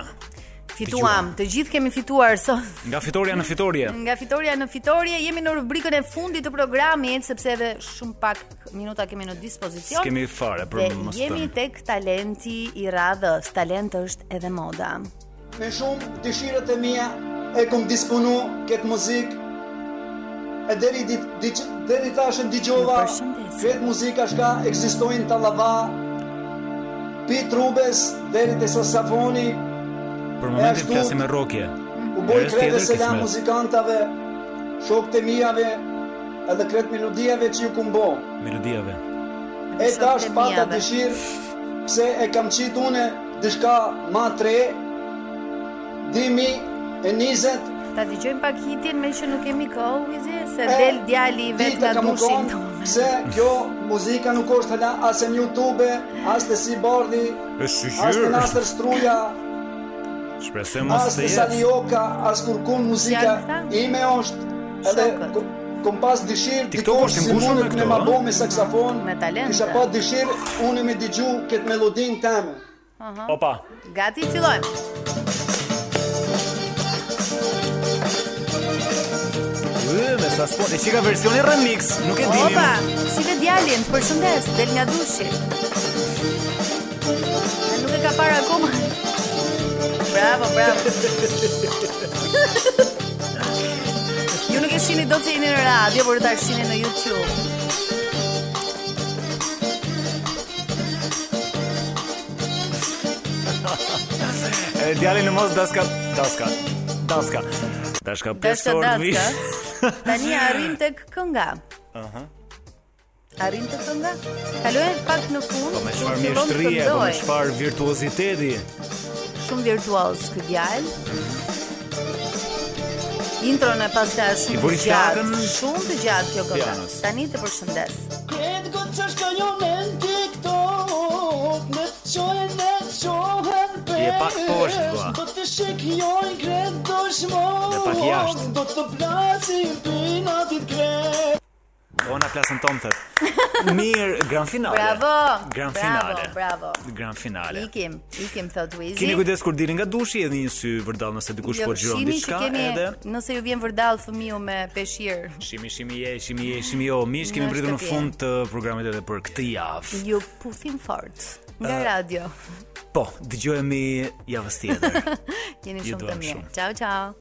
Speaker 2: Fituam, të gjithë kemi fituar sot.
Speaker 8: Nga fitoria në fitorje.
Speaker 2: Nga fitoria në fitorje jemi në rubrikën e fundit të programit sepse edhe shumë pak minuta kemi në dispozicion.
Speaker 8: S'kemi fare për
Speaker 2: Jo. Dhe
Speaker 8: mos të-
Speaker 2: jemi tek talenti i radhës. Talent është edhe moda.
Speaker 4: Me shumë dëshirët e mia e kom disponu këtë muzikë e deri dit, dit, deri tash e ndigjova këtë muzika shka ekzistojnë të lava pi trubes deri të sasafoni
Speaker 8: Për
Speaker 4: ashtu-
Speaker 8: momentin flasim me Rokje.
Speaker 4: u boj
Speaker 8: Herës
Speaker 4: krede
Speaker 8: tjetër,
Speaker 4: se la
Speaker 8: kismet.
Speaker 4: muzikantave shok të mijave edhe kretë melodijave që ju kumbo
Speaker 8: Melodiave.
Speaker 4: e tash të pata mijave. dëshirë pse e kam qitë une dishka ma tre dimi e nizet
Speaker 2: Ta dëgjojmë pak hitin me që nuk kemi kohë, Wizi, se
Speaker 4: E,
Speaker 2: del djali i vet
Speaker 4: Dita
Speaker 2: nga
Speaker 4: ka më
Speaker 2: dushin
Speaker 4: konë,
Speaker 2: tonë.
Speaker 4: pse kjo muzika nuk është hala as në YouTube, as të si bardhi,
Speaker 8: Është
Speaker 4: as në
Speaker 8: shqyr.
Speaker 4: Nasër Struja,
Speaker 8: Shpresoj
Speaker 4: as
Speaker 8: mos të
Speaker 4: në
Speaker 8: jetë.
Speaker 4: Salioka, as kërkun muzika ime është, edhe ku- kom pas dëshirë,
Speaker 8: TikTok
Speaker 4: dikur
Speaker 8: është i
Speaker 4: si
Speaker 8: mbushur
Speaker 4: mune
Speaker 8: me
Speaker 4: këne
Speaker 8: këto,
Speaker 4: ma
Speaker 8: ëh?
Speaker 4: bo me saksafon,
Speaker 2: me talente.
Speaker 4: kisha pa dëshirë, unë me digju këtë melodin teme.
Speaker 2: Aha.
Speaker 8: Opa.
Speaker 2: Gati, fillojmë.
Speaker 8: Ë, me sa sport. E çika versioni remix, nuk e dinim.
Speaker 2: Opa, si dhe djalin, të përshëndes, del nga dushi. A nuk e ka parë akoma. Bravo, bravo. Ju nuk e shihni dot se jeni në radio, por do ta shihni në YouTube.
Speaker 8: E djali në mos daska, daska, daska. Dashka
Speaker 2: Dashka
Speaker 8: pesor vi.
Speaker 2: daska. Tani arrim tek kënga.
Speaker 8: Aha.
Speaker 2: Arrin të kënga? Kaloj pak në fund.
Speaker 8: Po me çfarë
Speaker 2: fillon të
Speaker 8: mjeshtrie, po me
Speaker 2: këndoj.
Speaker 8: çfarë virtuoziteti.
Speaker 2: Shumë virtuoz ky djalë. Intron e pastaj është
Speaker 8: I
Speaker 2: shumë
Speaker 8: bëri
Speaker 2: të gjatë,
Speaker 8: flakën
Speaker 2: shumë të gjatë kjo këngë.
Speaker 8: pianos.
Speaker 2: Tani të përshëndes.
Speaker 10: Kretë gëtë që shka jo me në TikTok Me të qojnë e të qohen
Speaker 8: Je pak poshtë,
Speaker 10: pesh
Speaker 8: vlla.
Speaker 10: Do të shikjojnë kretë
Speaker 8: Dhe
Speaker 10: dëshmon
Speaker 8: pak jashtë.
Speaker 10: Do të plasin për natit kretë
Speaker 8: Ona klasën tonë thët. Mirë, gran finale.
Speaker 2: Bravo.
Speaker 8: Gran
Speaker 2: bravo,
Speaker 8: finale.
Speaker 2: Bravo.
Speaker 8: Gran finale.
Speaker 2: Ikim, ikim thot Wizi.
Speaker 8: Keni kujdes kur dilni nga dushi edhe një sy vërdall nëse dikush po gjiron
Speaker 2: Lëvshimin Jo, që
Speaker 8: diçka
Speaker 2: kemi,
Speaker 8: edhe
Speaker 2: Nëse ju vjen vërdall fëmiu me peshqir.
Speaker 8: shimi shimi je, shimi je, shimi jo. Miq kemi
Speaker 2: Në
Speaker 8: mbritur në
Speaker 2: shtëpi.
Speaker 8: fund të programit edhe për këtë javë.
Speaker 2: Ju puthim fort nga
Speaker 8: Eh,
Speaker 2: radio.
Speaker 8: Po, dëgjohemi javës tjetër.
Speaker 2: Jeni
Speaker 8: ju
Speaker 2: shumë të
Speaker 8: duam
Speaker 2: mirë.
Speaker 8: shumë.
Speaker 2: Ciao ciao.